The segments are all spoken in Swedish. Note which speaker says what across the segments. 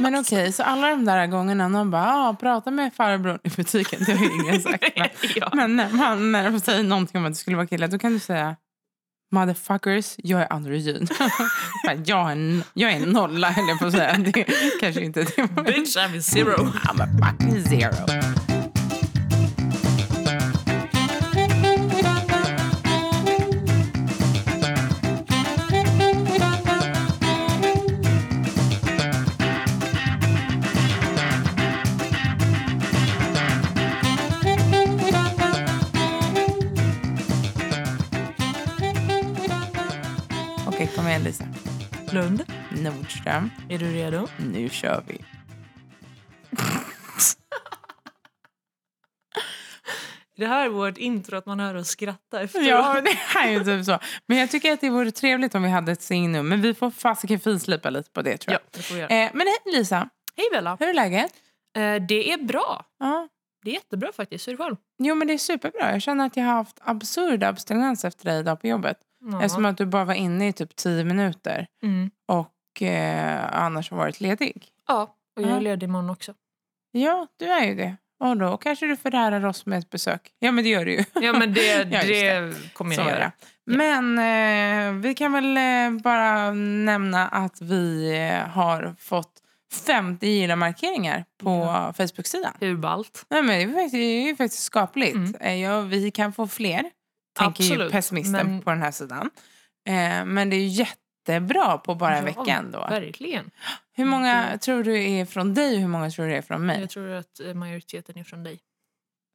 Speaker 1: Men okej, så alla de där gångerna någon bara ah, prata med farbror i butiken. Det har ju ingen sagt. va?
Speaker 2: ja.
Speaker 1: Men när, man, när de säger någonting om att du skulle vara kille, då kan du säga Motherfuckers, jag är androgyn. Fan, jag, är en, jag är en nolla, höll jag på att säga. Det kanske inte är det. man-
Speaker 2: Bitch, I'm a zero.
Speaker 1: I'm a fucking zero. Okej, kom igen Lisa.
Speaker 2: Lund,
Speaker 1: Nordström,
Speaker 2: är du redo?
Speaker 1: nu kör vi.
Speaker 2: Det här är vårt intro, att man hör oss skratta efteråt.
Speaker 1: Ja, det här är ju typ så. Men jag tycker att det vore trevligt om vi hade ett signum. Men vi får fasiken finslipa lite på det tror
Speaker 2: ja
Speaker 1: jag.
Speaker 2: det får vi göra.
Speaker 1: Eh, men hej Lisa,
Speaker 2: Hej Bella.
Speaker 1: hur är läget?
Speaker 2: Eh, det är bra.
Speaker 1: Ja.
Speaker 2: Det är jättebra faktiskt. Hur är det själv?
Speaker 1: Jo men det är superbra. Jag känner att jag har haft absurd abstinens efter dig idag på jobbet.
Speaker 2: Ja.
Speaker 1: Eftersom att du bara var inne i typ tio minuter
Speaker 2: Mm.
Speaker 1: och eh, annars har varit ledig.
Speaker 2: ja, och jag
Speaker 1: Ja.
Speaker 2: är ledig imorgon också.
Speaker 1: Ja, du är ju det. Och då kanske du förrärar oss med ett besök. Ja men det gör du ju.
Speaker 2: Ja, men det,
Speaker 1: just
Speaker 2: det kommer
Speaker 1: Så
Speaker 2: jag
Speaker 1: är
Speaker 2: göra.
Speaker 1: det. Men eh, vi kan väl eh, bara nämna att vi eh, har fått 50 gilla-markeringar på Facebook-sidan.
Speaker 2: Hur ballt?
Speaker 1: Nej, men det, är ju faktiskt, det är ju faktiskt skapligt.
Speaker 2: Mm.
Speaker 1: Eh, ja, vi kan få fler, tänker ju
Speaker 2: Absolut,
Speaker 1: pessimisten
Speaker 2: men-
Speaker 1: på den här sidan. Eh, men det är ju jättebra på bara en
Speaker 2: Ja,
Speaker 1: vecka ändå.
Speaker 2: Verkligen.
Speaker 1: Hur många
Speaker 2: det-
Speaker 1: tror du är från dig och hur många tror du är från mig?
Speaker 2: Jag tror att eh, majoriteten är från dig.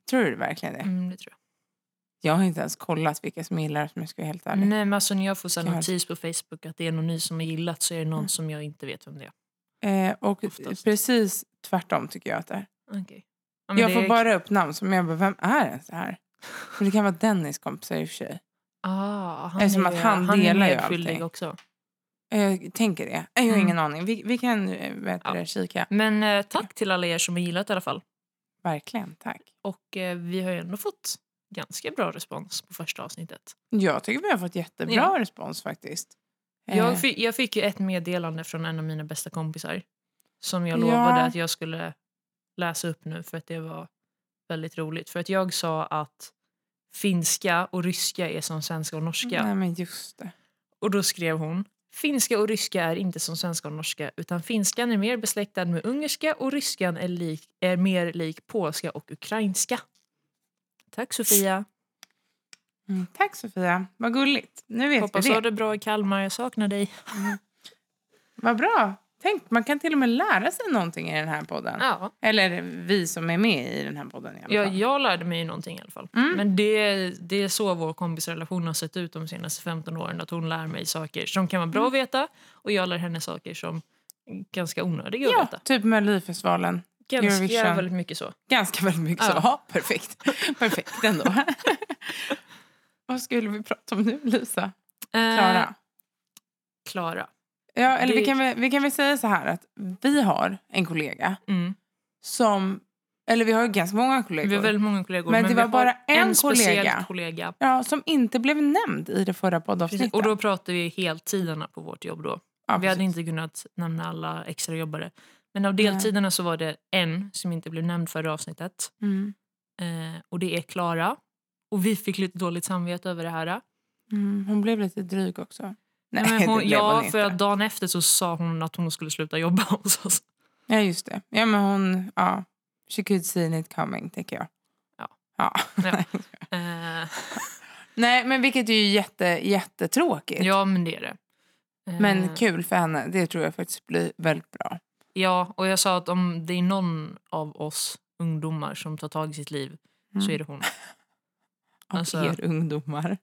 Speaker 1: Tror du verkligen det?
Speaker 2: Mm, det tror jag.
Speaker 1: Jag har inte ens kollat vilka som gillar det, om jag ska vara helt ärlig.
Speaker 2: Nej, men alltså, när jag får så här
Speaker 1: Jag har-
Speaker 2: notis på Facebook att det Mm. är någon ny som har gillat så är det någon som jag inte vet vem det är.
Speaker 1: Eh, och
Speaker 2: Oftast.
Speaker 1: precis tvärtom tycker jag att det är.
Speaker 2: Okej. Ja, men
Speaker 1: jag
Speaker 2: det
Speaker 1: får
Speaker 2: är-
Speaker 1: bara upp namn som jag bara, vem är ens det här? Men det kan vara Dennis kompisar i och för sig.
Speaker 2: Ah, han
Speaker 1: Eftersom
Speaker 2: är,
Speaker 1: att han
Speaker 2: han är
Speaker 1: delar ju
Speaker 2: medskyldig
Speaker 1: allting.
Speaker 2: också.
Speaker 1: Eh, Jag tänker det. Eh, Jag har
Speaker 2: Mm.
Speaker 1: ingen aning. Vi, vi kan eh, vet
Speaker 2: Ja.
Speaker 1: du, kika.
Speaker 2: Men eh, tack till alla er som har gillat i alla fall.
Speaker 1: Verkligen, tack.
Speaker 2: Och eh, vi har ju ändå fått ganska bra respons på första avsnittet.
Speaker 1: Jag tycker vi har fått jättebra
Speaker 2: Ja.
Speaker 1: respons faktiskt. Eh,
Speaker 2: Jag, fick, jag fick ju ett meddelande från en av mina bästa kompisar som jag
Speaker 1: Ja.
Speaker 2: lovade att jag skulle läsa upp nu för att det var väldigt roligt. För att jag sa att finska och ryska är som svenska och norska.
Speaker 1: Nej men just det.
Speaker 2: Och då skrev hon Finska och ryska är inte som svenska och norska utan finskan är mer besläktad med ungerska och ryskan är, lik, är mer lik polska och ukrainska. Tack Sofia.
Speaker 1: Mm, tack Sofia, vad gulligt. Nu vet
Speaker 2: Hoppas
Speaker 1: vi
Speaker 2: du
Speaker 1: det.
Speaker 2: har det bra i Kalmar. Jag saknar dig.
Speaker 1: Vad bra. Tänk, man kan till och med lära sig någonting i den här podden.
Speaker 2: Ja,
Speaker 1: Eller vi som är med i den här podden i alla
Speaker 2: jag,
Speaker 1: fall.
Speaker 2: jag lärde mig ju någonting i alla fall.
Speaker 1: Mm.
Speaker 2: Men det, det är så vår kompisrelation har sett ut de senaste 15 åren. Att hon lär mig saker som kan vara bra att
Speaker 1: Mm.
Speaker 2: veta och jag lär henne saker som är ganska onödiga att
Speaker 1: ja,
Speaker 2: veta.
Speaker 1: typ Melodifestivalen.
Speaker 2: Ganska
Speaker 1: Eurovision.
Speaker 2: väldigt mycket så.
Speaker 1: Ganska väldigt mycket
Speaker 2: Ja.
Speaker 1: så. Ja, perfekt. Perfekt ändå. Vad skulle vi prata om nu, Lisa? Klara?
Speaker 2: Eh, Klara.
Speaker 1: ja, eller
Speaker 2: det-
Speaker 1: vi, kan väl, vi kan väl säga så här att vi har en kollega
Speaker 2: Mm.
Speaker 1: som... Eller vi har ju ganska många kollegor.
Speaker 2: Vi har väldigt många kollegor.
Speaker 1: Men det
Speaker 2: vi
Speaker 1: var
Speaker 2: har
Speaker 1: bara en kollega.
Speaker 2: speciell kollega.
Speaker 1: Ja, som inte blev nämnd i det förra
Speaker 2: Precis.
Speaker 1: poddavsnittet.
Speaker 2: Och då pratar vi heltidarna på vårt jobb då.
Speaker 1: ja,
Speaker 2: Vi hade
Speaker 1: precis.
Speaker 2: inte kunnat nämna alla extrajobbare. Men av deltiderna så var det en som inte blev nämnd förra avsnittet.
Speaker 1: Mm.
Speaker 2: Eh, och det är Klara. Och vi fick lite dåligt samvete över det här.
Speaker 1: Mm, hon blev lite dryg också. Nej,
Speaker 2: Men
Speaker 1: det
Speaker 2: hon,
Speaker 1: blev
Speaker 2: ja,
Speaker 1: hon inte.
Speaker 2: för att dagen efter så sa hon att hon skulle sluta jobba hos oss.
Speaker 1: Ja, just det. Ja, men hon... Ja. She could see it coming, tänker jag.
Speaker 2: Ja.
Speaker 1: ja.
Speaker 2: Ja. Eh,
Speaker 1: Nej, men vilket är ju jätte, jättetråkigt.
Speaker 2: ja, men det är det. Eh,
Speaker 1: Men kul för henne. Det tror jag faktiskt blir väldigt bra.
Speaker 2: Ja, och jag sa att om det är någon av oss ungdomar som tar tag i sitt liv
Speaker 1: Mm.
Speaker 2: så är det hon.
Speaker 1: Av
Speaker 2: Alltså-
Speaker 1: er ungdomar.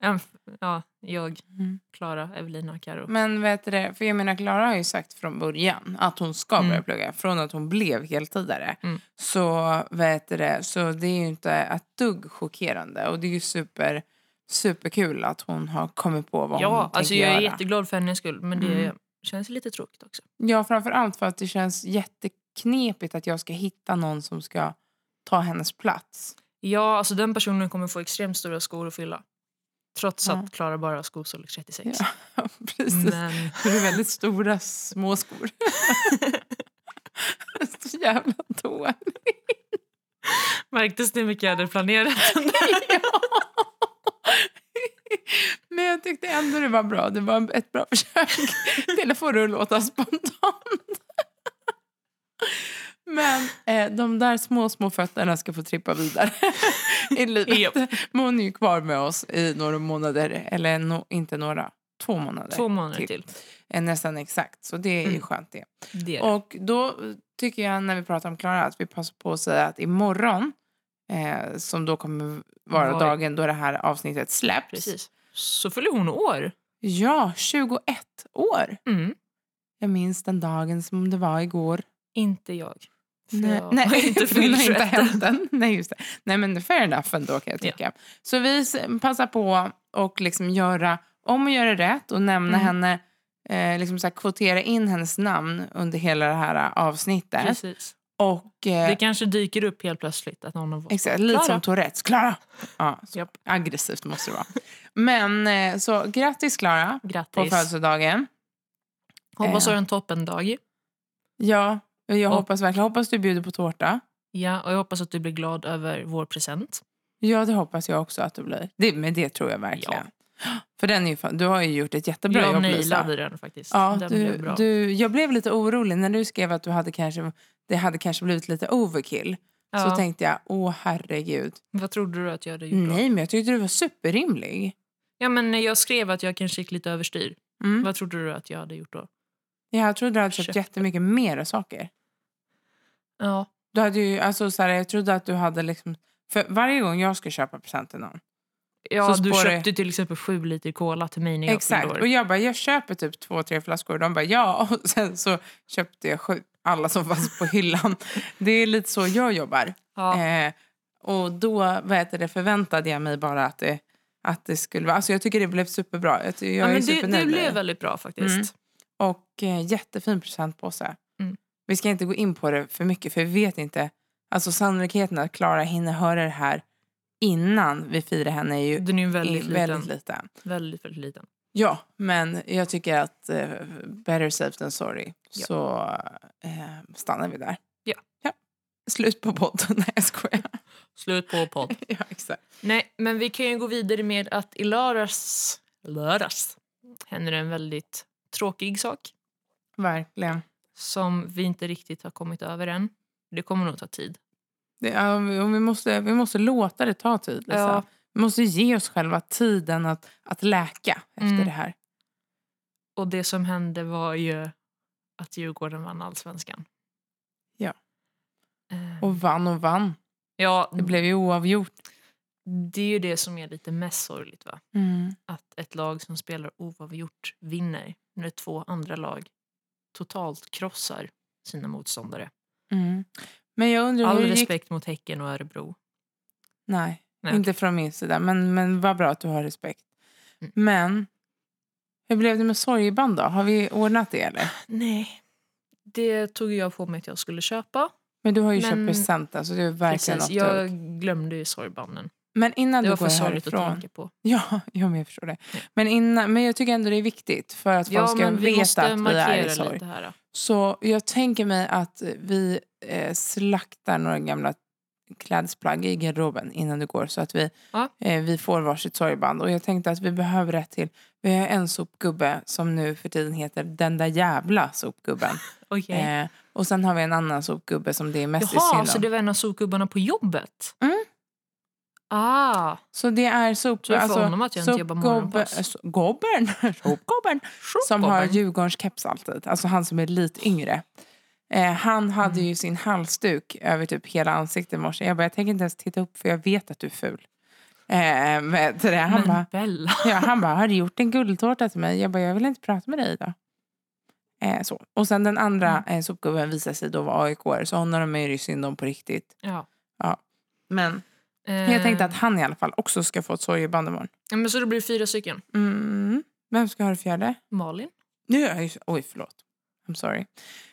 Speaker 2: Ja, Ja, jag,
Speaker 1: Mm.
Speaker 2: Klara, Evelina, Karo.
Speaker 1: Men vet du det, för jag menar Klara har ju sagt från början att hon ska
Speaker 2: Mm.
Speaker 1: börja plugga. Från att hon blev heltidare.
Speaker 2: Mm.
Speaker 1: Så vet du det, så det är ju inte ett dugg chockerande. Och det är ju super, superkul att hon har kommit på vad hon
Speaker 2: Ja,
Speaker 1: tänker
Speaker 2: alltså jag är
Speaker 1: göra. Mm.
Speaker 2: jätteglad för hennes skull, men det känns lite tråkigt också.
Speaker 1: Ja, framförallt för att det känns jätteknepigt att jag ska hitta någon som ska ta hennes plats.
Speaker 2: Ja, alltså den personen kommer få extremt stora skor att fylla. Trots
Speaker 1: Ja.
Speaker 2: att Klara bara har skostorlek 36.
Speaker 1: Ja, precis.
Speaker 2: Men
Speaker 1: Det är väldigt stora små skor. jävla dålig.
Speaker 2: Märktes ni hur mycket jag hade planerat?
Speaker 1: Men jag tyckte ändå det var bra. Det var ett bra försök till att få det att låta spontant. Men eh, de där små, små fötterna ska få trippa vidare i livet.
Speaker 2: Japp.
Speaker 1: Men hon är ju kvar med oss i några månader, eller no, inte några, två månader.
Speaker 2: Två månader
Speaker 1: Till.
Speaker 2: till.
Speaker 1: Eh, Nästan exakt, så det är ju
Speaker 2: Mm.
Speaker 1: skönt det.
Speaker 2: Det är det.
Speaker 1: Och då eh, tycker jag när vi pratar om Klara att vi passar på att säga att imorgon, eh, som då kommer vara
Speaker 2: Var-
Speaker 1: dagen då det här avsnittet släpps.
Speaker 2: Precis. Så fyller hon år.
Speaker 1: Ja, 21 år!
Speaker 2: Mm.
Speaker 1: Jag minns den dagen som det var igår.
Speaker 2: Inte jag. För
Speaker 1: Nej,
Speaker 2: jag har
Speaker 1: nej,
Speaker 2: inte
Speaker 1: för den
Speaker 2: fyllt
Speaker 1: har inte
Speaker 2: 21 än.
Speaker 1: hänt än. Nej, just det. Nej, men fair enough ändå kan jag
Speaker 2: Ja.
Speaker 1: tycka. Så vi s- passar på och liksom göra om och göra rätt och nämna
Speaker 2: Mm.
Speaker 1: henne, eh, liksom så här, kvotera in hennes namn under hela det här eh, avsnittet.
Speaker 2: Precis.
Speaker 1: Och, eh,
Speaker 2: Det kanske dyker upp helt plötsligt att någon av oss...
Speaker 1: Exakt, lite
Speaker 2: Klara.
Speaker 1: som Tourettes. Klara! Ja, så
Speaker 2: Japp.
Speaker 1: Aggressivt måste det vara. Men eh, så grattis Klara på
Speaker 2: Grattis.
Speaker 1: födelsedagen.
Speaker 2: Hoppas
Speaker 1: Eh.
Speaker 2: du har en toppendag.
Speaker 1: Ja, och jag
Speaker 2: Och-
Speaker 1: hoppas verkligen. Hoppas du bjuder på tårta.
Speaker 2: Ja, och jag hoppas att du blir glad över vår present.
Speaker 1: Ja, det hoppas jag också att du blir. Det, men det tror jag verkligen. För den är ju, fan- du har ju gjort ett jättebra
Speaker 2: jag
Speaker 1: jobb Lisa.
Speaker 2: nailade den faktiskt.
Speaker 1: Ja,
Speaker 2: den
Speaker 1: du,
Speaker 2: blev bra.
Speaker 1: du, jag blev lite orolig när du skrev att du hade kanske, det hade kanske blivit lite overkill.
Speaker 2: ja.
Speaker 1: Så tänkte jag, åh herregud.
Speaker 2: Vad trodde du att jag hade gjort då?
Speaker 1: Nej, men jag tyckte du var superrimlig.
Speaker 2: Ja, men jag skrev att jag kanske gick lite överstyr.
Speaker 1: Mm.
Speaker 2: Vad trodde du att jag hade gjort då?
Speaker 1: Jag trodde du hade köpt
Speaker 2: Ursäkta.
Speaker 1: jättemycket mera saker.
Speaker 2: Ja,
Speaker 1: Du hade ju, alltså, så här, jag trodde att du hade liksom... För varje gång jag ska köpa present till någon.
Speaker 2: ja
Speaker 1: Så
Speaker 2: du
Speaker 1: spår det-
Speaker 2: köpte till exempel sju liter cola till mig när jag
Speaker 1: exakt.
Speaker 2: fyllde
Speaker 1: Och
Speaker 2: år.
Speaker 1: jag bara, jag köper typ två, tre flaskor. Och de bara, ja. Och sen så köpte jag sju, alla som fanns på hyllan. Det är lite så jag jobbar.
Speaker 2: Ja,
Speaker 1: Eh, och då vad heter det, förväntade jag mig bara att det, att det skulle vara... Alltså jag tycker det blev superbra. Jag, ty- jag
Speaker 2: ja
Speaker 1: är
Speaker 2: men det, det
Speaker 1: supernöjd med
Speaker 2: blev
Speaker 1: det.
Speaker 2: väldigt bra faktiskt.
Speaker 1: Mm. Och eh, jättefin presentpåse.
Speaker 2: Mm.
Speaker 1: Vi ska inte gå in på det för mycket för vi vet inte. Alltså sannolikheten att Klara hinner höra det här innan vi firar henne är ju
Speaker 2: Den är ju
Speaker 1: är
Speaker 2: väldigt,
Speaker 1: väldigt,
Speaker 2: liten.
Speaker 1: liten.
Speaker 2: Väldigt, väldigt liten.
Speaker 1: Ja, men jag tycker att eh, better safe than sorry.
Speaker 2: Ja.
Speaker 1: Så eh, stannar vi där.
Speaker 2: Ja.
Speaker 1: Slut på podden. Nej, jag skojar.
Speaker 2: Slut på podd.
Speaker 1: ja, exakt.
Speaker 2: Nej, men vi kan ju gå vidare med att i lördags, lördags händer en väldigt tråkig sak
Speaker 1: Verkligen.
Speaker 2: som vi inte riktigt har kommit över än. Det kommer nog ta tid.
Speaker 1: Det, ja, vi- och vi, måste, vi måste låta det ta tid. Lisa.
Speaker 2: Ja.
Speaker 1: Vi måste ge oss själva tiden att, att läka efter
Speaker 2: Mm.
Speaker 1: det här.
Speaker 2: Och det som hände var ju att Djurgården vann allsvenskan.
Speaker 1: Ja.
Speaker 2: Eh,
Speaker 1: Och vann och vann.
Speaker 2: ja,
Speaker 1: Det blev ju oavgjort.
Speaker 2: det är ju det som är lite mest sorgligt. Va?
Speaker 1: Mm,
Speaker 2: Att ett lag som spelar oavgjort vinner när två andra lag totalt krossar sina motståndare.
Speaker 1: Mm. Men jag undrar
Speaker 2: All
Speaker 1: hur det gick...
Speaker 2: respekt mot Häcken och Örebro.
Speaker 1: Nej,
Speaker 2: Nej,
Speaker 1: inte från min sida. Men, men vad bra att du har respekt.
Speaker 2: Mm.
Speaker 1: Men hur blev det med sorgeband då? Har vi ordnat det eller?
Speaker 2: Nej, det tog jag på mig att jag skulle köpa.
Speaker 1: Men du har ju
Speaker 2: Men-
Speaker 1: köpt present alltså. Det är verkligen
Speaker 2: Precis,
Speaker 1: något jag...
Speaker 2: jag glömde ju sorgbanden.
Speaker 1: Men innan
Speaker 2: Det
Speaker 1: du
Speaker 2: var
Speaker 1: går
Speaker 2: för sorgligt att
Speaker 1: härifrån.
Speaker 2: tänka på.
Speaker 1: Ja, ja, men jag förstår det. Men, innan, men jag tycker ändå det är viktigt för att folk
Speaker 2: Ja,
Speaker 1: ska
Speaker 2: men vi
Speaker 1: veta
Speaker 2: måste
Speaker 1: att vi är i
Speaker 2: markera
Speaker 1: sorg.
Speaker 2: lite här. då.
Speaker 1: Så jag tänker mig att vi eh, slaktar några gamla klädesplagg i garderoben innan du går så att vi,
Speaker 2: Ja.
Speaker 1: eh, vi får varsitt sorgband. Och jag tänkte att vi behöver ett till. Vi har en sopgubbe som nu för tiden heter den där jävla sopgubben.
Speaker 2: Okej.
Speaker 1: Eh, och sen har vi en annan sopgubbe som det är mest i
Speaker 2: Jaha,
Speaker 1: synd
Speaker 2: så
Speaker 1: om.
Speaker 2: det var en av sopgubbarna på jobbet?
Speaker 1: Mm.
Speaker 2: Ah,
Speaker 1: Så det är sop,
Speaker 2: Tur för honom att jag inte jobbar morgonpass.
Speaker 1: Alltså, sopgubbe- Sopgubben, sopgubben som har Djurgårdens keps alltid. Alltså han som är lite yngre. Eh, han hade ju sin halsduk över typ hela ansiktet i morse. Jag bara, jag tänker inte ens titta upp för jag vet att du är ful. Eh, men till det, han
Speaker 2: Men
Speaker 1: bara,
Speaker 2: Bella.
Speaker 1: ja, han bara, har du gjort en guldtårta till mig? Jag bara, jag vill inte prata med dig idag. Eh, så. Och sen den andra eh, sopgubben visade sig då vara aik så honom är det ju synd om på riktigt.
Speaker 2: Ja.
Speaker 1: Men
Speaker 2: Eh,
Speaker 1: jag tänkte att han i alla fall också ska få ett sorgeband imorgon.
Speaker 2: ja, men så det blir fyra stycken.
Speaker 1: Mm. Vem ska ha det fjärde?
Speaker 2: Malin.
Speaker 1: Nu är jag ju... Oj, förlåt. I'm sorry.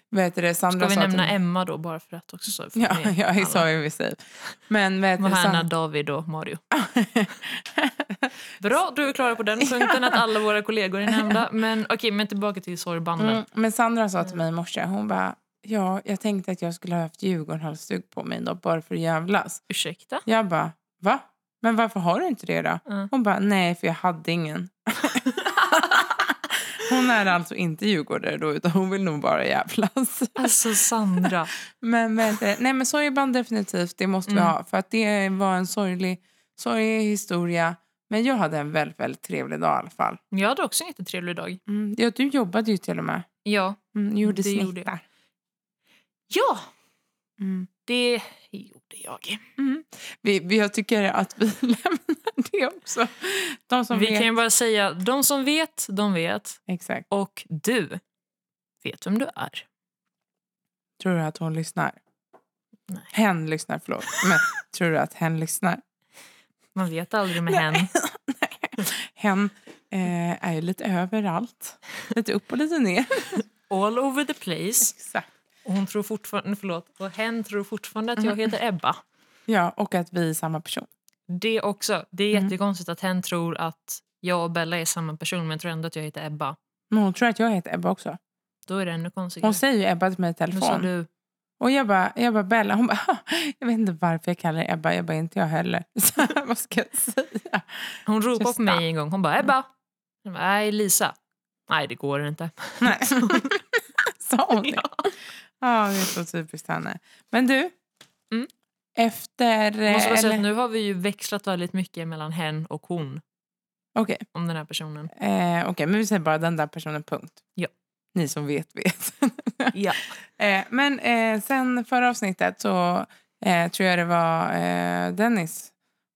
Speaker 1: Vad heter det?
Speaker 2: Ska
Speaker 1: Sandra
Speaker 2: vi
Speaker 1: sa
Speaker 2: nämna
Speaker 1: till...
Speaker 2: Emma då bara för att också? Så för
Speaker 1: Ja, ja, jag sa
Speaker 2: ju.
Speaker 1: ju vi säger. Men vad heter det?
Speaker 2: Mohanna,
Speaker 1: Sand...
Speaker 2: David och Mario.
Speaker 1: Mm,
Speaker 2: Bra, då är vi klara på den punkten att alla våra kollegor är nämnda. Men okej, men tillbaka till sorgbanden. Mm.
Speaker 1: Mm, men Sandra sa till mig i morse, hon bara, Ja, jag tänkte att jag skulle ha haft Djurgården-halsduk på mig då, bara för att jävlas.
Speaker 2: Ursäkta?
Speaker 1: Jag bara, va? Men varför har du inte det då?
Speaker 2: Mm.
Speaker 1: Hon bara, nej för jag hade ingen. hon är alltså inte djurgårdare då utan hon vill nog bara jävlas.
Speaker 2: Alltså Sandra.
Speaker 1: Men, men, eh, nej, men sorgeband definitivt, det måste vi
Speaker 2: Mm.
Speaker 1: ha. För att det var en sorglig, sorglig historia. Men jag hade en väldigt, väldigt trevlig dag i alla fall.
Speaker 2: Jag hade också en jättetrevlig dag.
Speaker 1: Mm, ja, du jobbade ju till och med.
Speaker 2: Ja.
Speaker 1: Mm, du gjorde
Speaker 2: Det gjorde jag.
Speaker 1: snittar.
Speaker 2: Ja,
Speaker 1: Mm.
Speaker 2: det gjorde jag.
Speaker 1: Vi, vi, jag tycker att vi lämnar det också. De som
Speaker 2: vi
Speaker 1: vet.
Speaker 2: kan ju bara säga, de som vet, de vet.
Speaker 1: Exakt.
Speaker 2: Och du vet vem du är.
Speaker 1: Tror du att hon lyssnar?
Speaker 2: Nej.
Speaker 1: Hen lyssnar, förlåt. Men tror du att hen lyssnar?
Speaker 2: Man vet aldrig med hen.
Speaker 1: Hen eh, är ju lite överallt. Lite upp och lite ner.
Speaker 2: All over the place.
Speaker 1: Exakt.
Speaker 2: Och hon tror fortfarande, förlåt, och hen tror fortfarande att jag
Speaker 1: Mhm.
Speaker 2: heter Ebba.
Speaker 1: Ja, och att vi är samma person.
Speaker 2: Det också. Det är
Speaker 1: Mm.
Speaker 2: jättekonstigt att hen tror att jag och Bella är samma person men tror ändå att jag heter Ebba.
Speaker 1: Men hon tror att jag heter Ebba också.
Speaker 2: Då är det ännu konstigare.
Speaker 1: Hon säger ju Ebba till mig i
Speaker 2: Nu sa
Speaker 1: telefon.
Speaker 2: du
Speaker 1: Och jag bara, jag bara Bella. Hon bara, jag vet inte varför jag kallar dig Ebba. Jag bara, inte jag heller. Så, här, vad ska jag säga?
Speaker 2: Hon ropade på
Speaker 1: Tysta.
Speaker 2: mig en gång. Hon bara “Ebba!” jag bara, “Nej, Lisa.” “Nej, det går inte.”
Speaker 1: Nej. Sa hon det?
Speaker 2: Ja.
Speaker 1: Ja, det är så typiskt henne. Men du,
Speaker 2: Mm.
Speaker 1: efter...
Speaker 2: Jag Måste bara säga
Speaker 1: Eh, eller-
Speaker 2: att nu har vi ju växlat väldigt mycket mellan hen och hon
Speaker 1: Okej.
Speaker 2: om den här personen.
Speaker 1: Eh, Okej, men vi säger bara den där personen, punkt.
Speaker 2: Ja.
Speaker 1: Ni som vet, vet.
Speaker 2: Ja.
Speaker 1: eh, men eh, sen förra avsnittet så eh, tror jag det var eh, Dennis,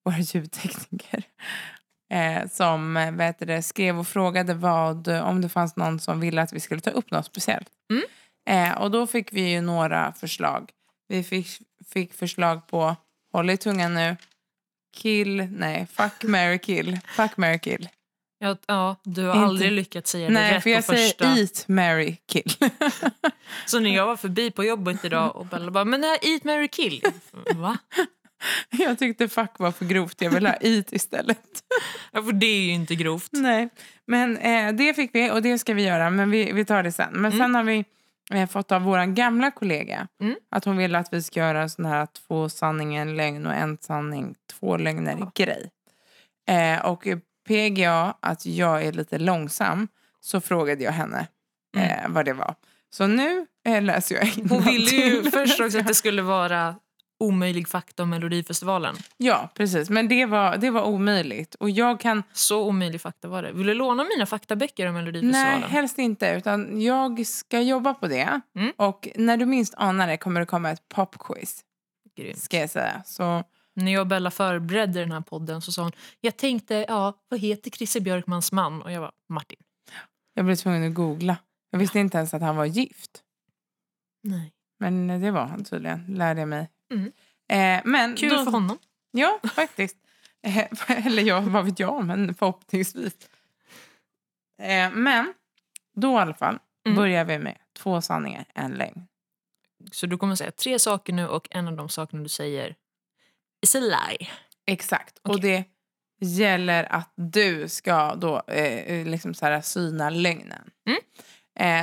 Speaker 1: vår ljudtekniker, eh, som eh, vad heter det, skrev och frågade vad, om det fanns någon som ville att vi skulle ta upp något speciellt.
Speaker 2: Mm.
Speaker 1: Eh, och då fick vi ju några förslag. Vi fick, fick förslag på, håll i tungan nu, kill, nej, fuck, marry, kill. Fuck, marry, kill.
Speaker 2: Ja, ja, du har
Speaker 1: Inte-
Speaker 2: aldrig lyckats säga det
Speaker 1: Nej,
Speaker 2: rätt
Speaker 1: för jag
Speaker 2: på första.
Speaker 1: säger eat, marry, kill.
Speaker 2: Så när jag var förbi på jobbet idag och Bella bara “Men det här Eat, Mary kill”. Va?
Speaker 1: jag tyckte fuck var för grovt. Jag ville ha eat istället.
Speaker 2: Ja, för det är ju inte grovt.
Speaker 1: Nej, men eh, det fick vi och det ska vi göra. Men vi, vi tar det sen. Men sen har vi eh, fått av vår gamla kollega
Speaker 2: Mm.
Speaker 1: att hon vill att vi ska göra en sån här två sanningar, en lögn och en sanning, två lögner
Speaker 2: Ja.
Speaker 1: grej. Eh, och PGA, att jag är lite långsam, så frågade jag henne eh, vad det var. Så nu eh, läser jag
Speaker 2: Mm. Hon ville ju
Speaker 1: innantill.
Speaker 2: först också att det skulle vara omöjlig fakta om Melodifestivalen.
Speaker 1: Ja, precis. Men det var, det var omöjligt. Och jag kan...
Speaker 2: Så omöjlig fakta var det. Vill du låna mina faktaböcker om
Speaker 1: Nej,
Speaker 2: Melodifestivalen?
Speaker 1: helst inte. Utan jag ska jobba på det.
Speaker 2: Mm.
Speaker 1: Och när du minst anar det kommer det komma ett popquiz.
Speaker 2: Grymt.
Speaker 1: Ska jag säga. Så,
Speaker 2: När jag och Bella förberedde den här podden så sa hon jag tänkte, ja, vad heter Christer Björkmans man? Och jag var Martin.
Speaker 1: jag blev tvungen att googla. Jag visste inte ens att han var gift.
Speaker 2: Nej.
Speaker 1: Men det var han tydligen, lärde jag mig.
Speaker 2: Mm.
Speaker 1: Eh, men
Speaker 2: Kul
Speaker 1: då-
Speaker 2: för honom.
Speaker 1: Ja, faktiskt. Eh, Eller ja, vad vet jag, men förhoppningsvis. Eh, Men då i alla fall
Speaker 2: Mm.
Speaker 1: börjar vi med två sanningar, en lögn.
Speaker 2: Så du kommer säga tre saker nu och en av de sakerna du säger is a lie.
Speaker 1: Exakt. Och det gäller att du ska då eh, liksom så här syna lögnen.
Speaker 2: Mm.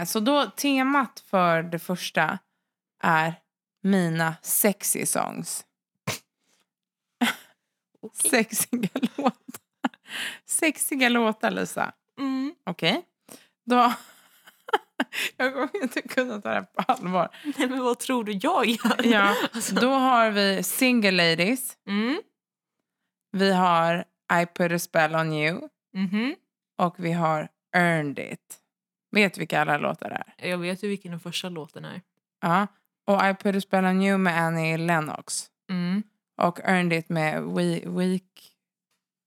Speaker 1: Eh, så då temat för det första är mina sexy songs.
Speaker 2: Okej.
Speaker 1: Sexiga låtar. Sexiga låtar, Lisa.
Speaker 2: Mm.
Speaker 1: Okej. Då... Jag kommer inte kunna ta det här på allvar.
Speaker 2: Nej, men vad tror du jag gör?
Speaker 1: Ja,
Speaker 2: Alltså.
Speaker 1: då har vi Single Ladies.
Speaker 2: Mm.
Speaker 1: Vi har I put a spell on you.
Speaker 2: Mhm.
Speaker 1: Och vi har Earned it. Vet vilka alla låtar är?
Speaker 2: Jag vet ju vilken den första låten är.
Speaker 1: Ja. Och I put a spell on you med Annie Lennox.
Speaker 2: Mm.
Speaker 1: Och Earned it med We, Week...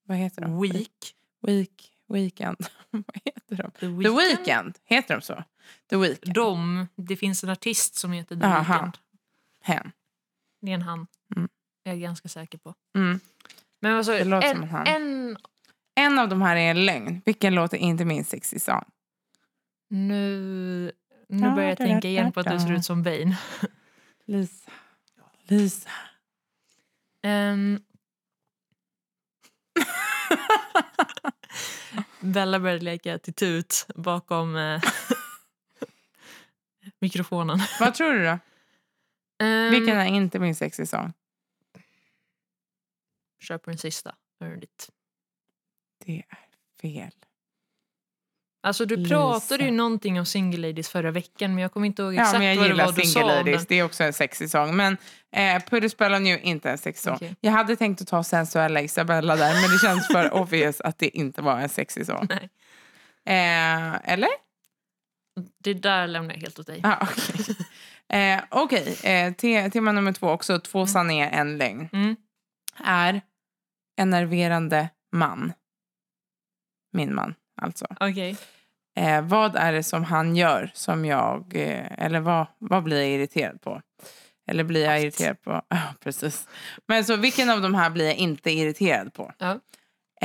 Speaker 1: Vad heter de?
Speaker 2: Week.
Speaker 1: Week, weekend. vad heter de?
Speaker 2: The
Speaker 1: The Weeknd. Heter de så? The Weeknd.
Speaker 2: De, det finns en artist som heter The
Speaker 1: Aha.
Speaker 2: Weeknd.
Speaker 1: Hen.
Speaker 2: Det är en han.
Speaker 1: Mm.
Speaker 2: Jag är ganska säker på.
Speaker 1: Mm.
Speaker 2: Men alltså,
Speaker 1: Det låter som
Speaker 2: en,
Speaker 1: en han.
Speaker 2: en
Speaker 1: En av de här är en lögn. Vilken låt är inte min sexy song?
Speaker 2: Nu, nu börjar jag
Speaker 1: Da, da,
Speaker 2: tänka
Speaker 1: da,
Speaker 2: igen på att du
Speaker 1: da.
Speaker 2: ser ut som Bane.
Speaker 1: Lisa. Lisa.
Speaker 2: Ehm. Bella började leka till tut bakom eh, mikrofonen.
Speaker 1: Vad tror du då?
Speaker 2: Um,
Speaker 1: Vilken är inte min sexig sång?
Speaker 2: Kör på den sista. Hör ditt.
Speaker 1: Det är fel.
Speaker 2: Alltså du
Speaker 1: Lisa.
Speaker 2: pratade ju någonting om single ladies förra veckan men jag kommer inte ihåg
Speaker 1: Ja,
Speaker 2: exakt
Speaker 1: men jag
Speaker 2: vad det
Speaker 1: gillar
Speaker 2: var du
Speaker 1: Single
Speaker 2: sa om
Speaker 1: Ladies.
Speaker 2: den.
Speaker 1: Det är också en sexig sång. Men eh, Puddys Bella New är inte en sexig sång.
Speaker 2: Okej.
Speaker 1: Jag hade tänkt att ta Sensuella Isabella där men det känns för obvious att det inte var en sexig sång.
Speaker 2: Nej.
Speaker 1: Eh, eller?
Speaker 2: Det där lämnar jag helt åt dig.
Speaker 1: Ah, Okej, eh, okej, eh, te- tema nummer två också. Två sanningar, en lögn.
Speaker 2: Mm.
Speaker 1: Är en nerverande man. Min man, alltså.
Speaker 2: Okej.
Speaker 1: Eh, vad är det som han gör som jag... Eh, eller vad, vad blir jag irriterad på? Eller blir jag irriterad på... Ja, precis. Men så vilken av de här blir jag inte irriterad på?
Speaker 2: Ja.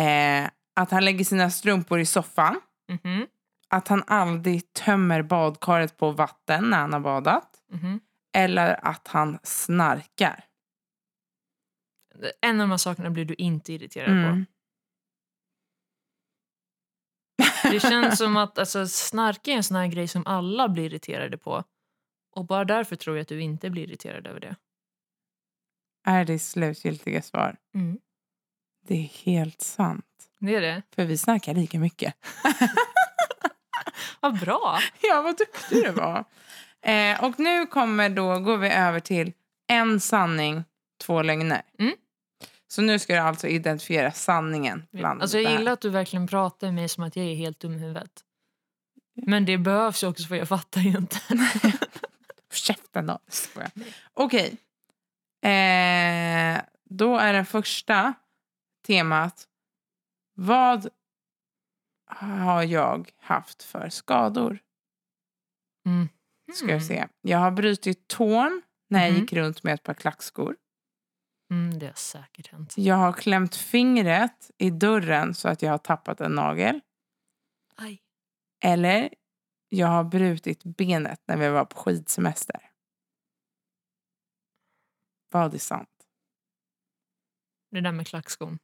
Speaker 1: Eh, att han lägger sina strumpor i soffan.
Speaker 2: Mhm.
Speaker 1: Att han aldrig tömmer badkaret på vatten när han har badat.
Speaker 2: Mhm.
Speaker 1: Eller att han snarkar.
Speaker 2: En av de här sakerna blir du inte irriterad på.
Speaker 1: Mm.
Speaker 2: Det känns som att alltså, snark är en sån här grej som alla blir irriterade på. Och bara därför tror jag att du inte blir irriterad över det.
Speaker 1: Är det slutgiltiga svar?
Speaker 2: Mm.
Speaker 1: Det är helt sant.
Speaker 2: Det är det.
Speaker 1: För vi snarkar lika mycket.
Speaker 2: Vad bra!
Speaker 1: Ja, vad duktig du var. Eh, och nu kommer då, går vi över till en sanning, två lögner.
Speaker 2: Mm.
Speaker 1: Så nu ska du alltså identifiera sanningen. Bland
Speaker 2: Alltså, jag
Speaker 1: det här.
Speaker 2: gillar att du verkligen pratar med mig som att jag är helt dum i huvudet. Men det behövs ju också för jag fattar ju inte.
Speaker 1: Käften då. Skojar. Okej. Eh, då är den första temat. Vad har jag haft för skador?
Speaker 2: Mm.
Speaker 1: Ska jag se. Jag har brutit tån när jag
Speaker 2: Mhm.
Speaker 1: gick runt med ett par klackskor.
Speaker 2: Mm, det har säkert hänt.
Speaker 1: Jag har klämt fingret i dörren så att jag har tappat en nagel.
Speaker 2: Aj.
Speaker 1: Eller jag har brutit benet när vi var på skidsemester. Vad är sant?
Speaker 2: Det där med klackskon.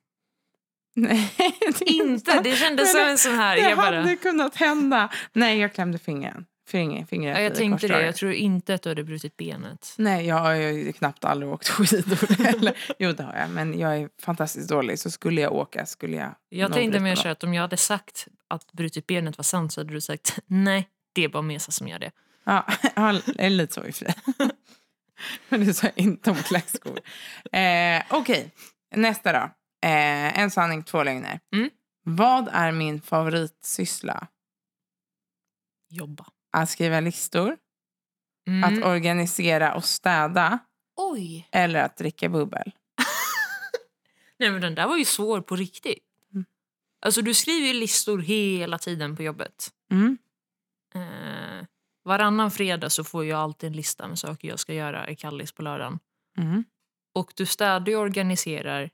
Speaker 1: Nej, det är
Speaker 2: Inte!
Speaker 1: sant.
Speaker 2: Det
Speaker 1: Men
Speaker 2: kändes som en sån här...
Speaker 1: Det
Speaker 2: Jag, bara,
Speaker 1: hade kunnat hända. Nej, jag klämde fingren. Fingret, fingret
Speaker 2: ja, jag
Speaker 1: i
Speaker 2: tänkte det.
Speaker 1: korsdraget.
Speaker 2: Jag tror inte att du hade brutit benet.
Speaker 1: Nej, jag har ju knappt aldrig åkt skidor. Eller, jo, det har jag. Men jag är fantastiskt dålig. Så skulle jag åka skulle jag...
Speaker 2: Jag
Speaker 1: nog
Speaker 2: tänkte
Speaker 1: bryta
Speaker 2: mer
Speaker 1: något.
Speaker 2: så att om jag hade sagt att brutit benet var sant så hade du sagt nej, det är bara Mesa som gör det.
Speaker 1: Ja, ja, det är lite så i och för sig. Men du sa inte om klackskor. Eh, Okej, nästa då. Eh, en sanning, två lögner.
Speaker 2: Mm.
Speaker 1: Vad är min favoritsyssla?
Speaker 2: Jobba.
Speaker 1: Att skriva listor,
Speaker 2: Mm.
Speaker 1: att organisera och städa
Speaker 2: Oj!
Speaker 1: eller att dricka bubbel?
Speaker 2: Nej, men den där var ju svår på riktigt.
Speaker 1: Mm.
Speaker 2: Alltså, du skriver ju listor hela tiden på jobbet.
Speaker 1: Mm.
Speaker 2: Eh, varannan fredag så får jag alltid en lista med saker jag ska göra i Kallis på lördagen.
Speaker 1: Mm.
Speaker 2: Och du städar och organiserar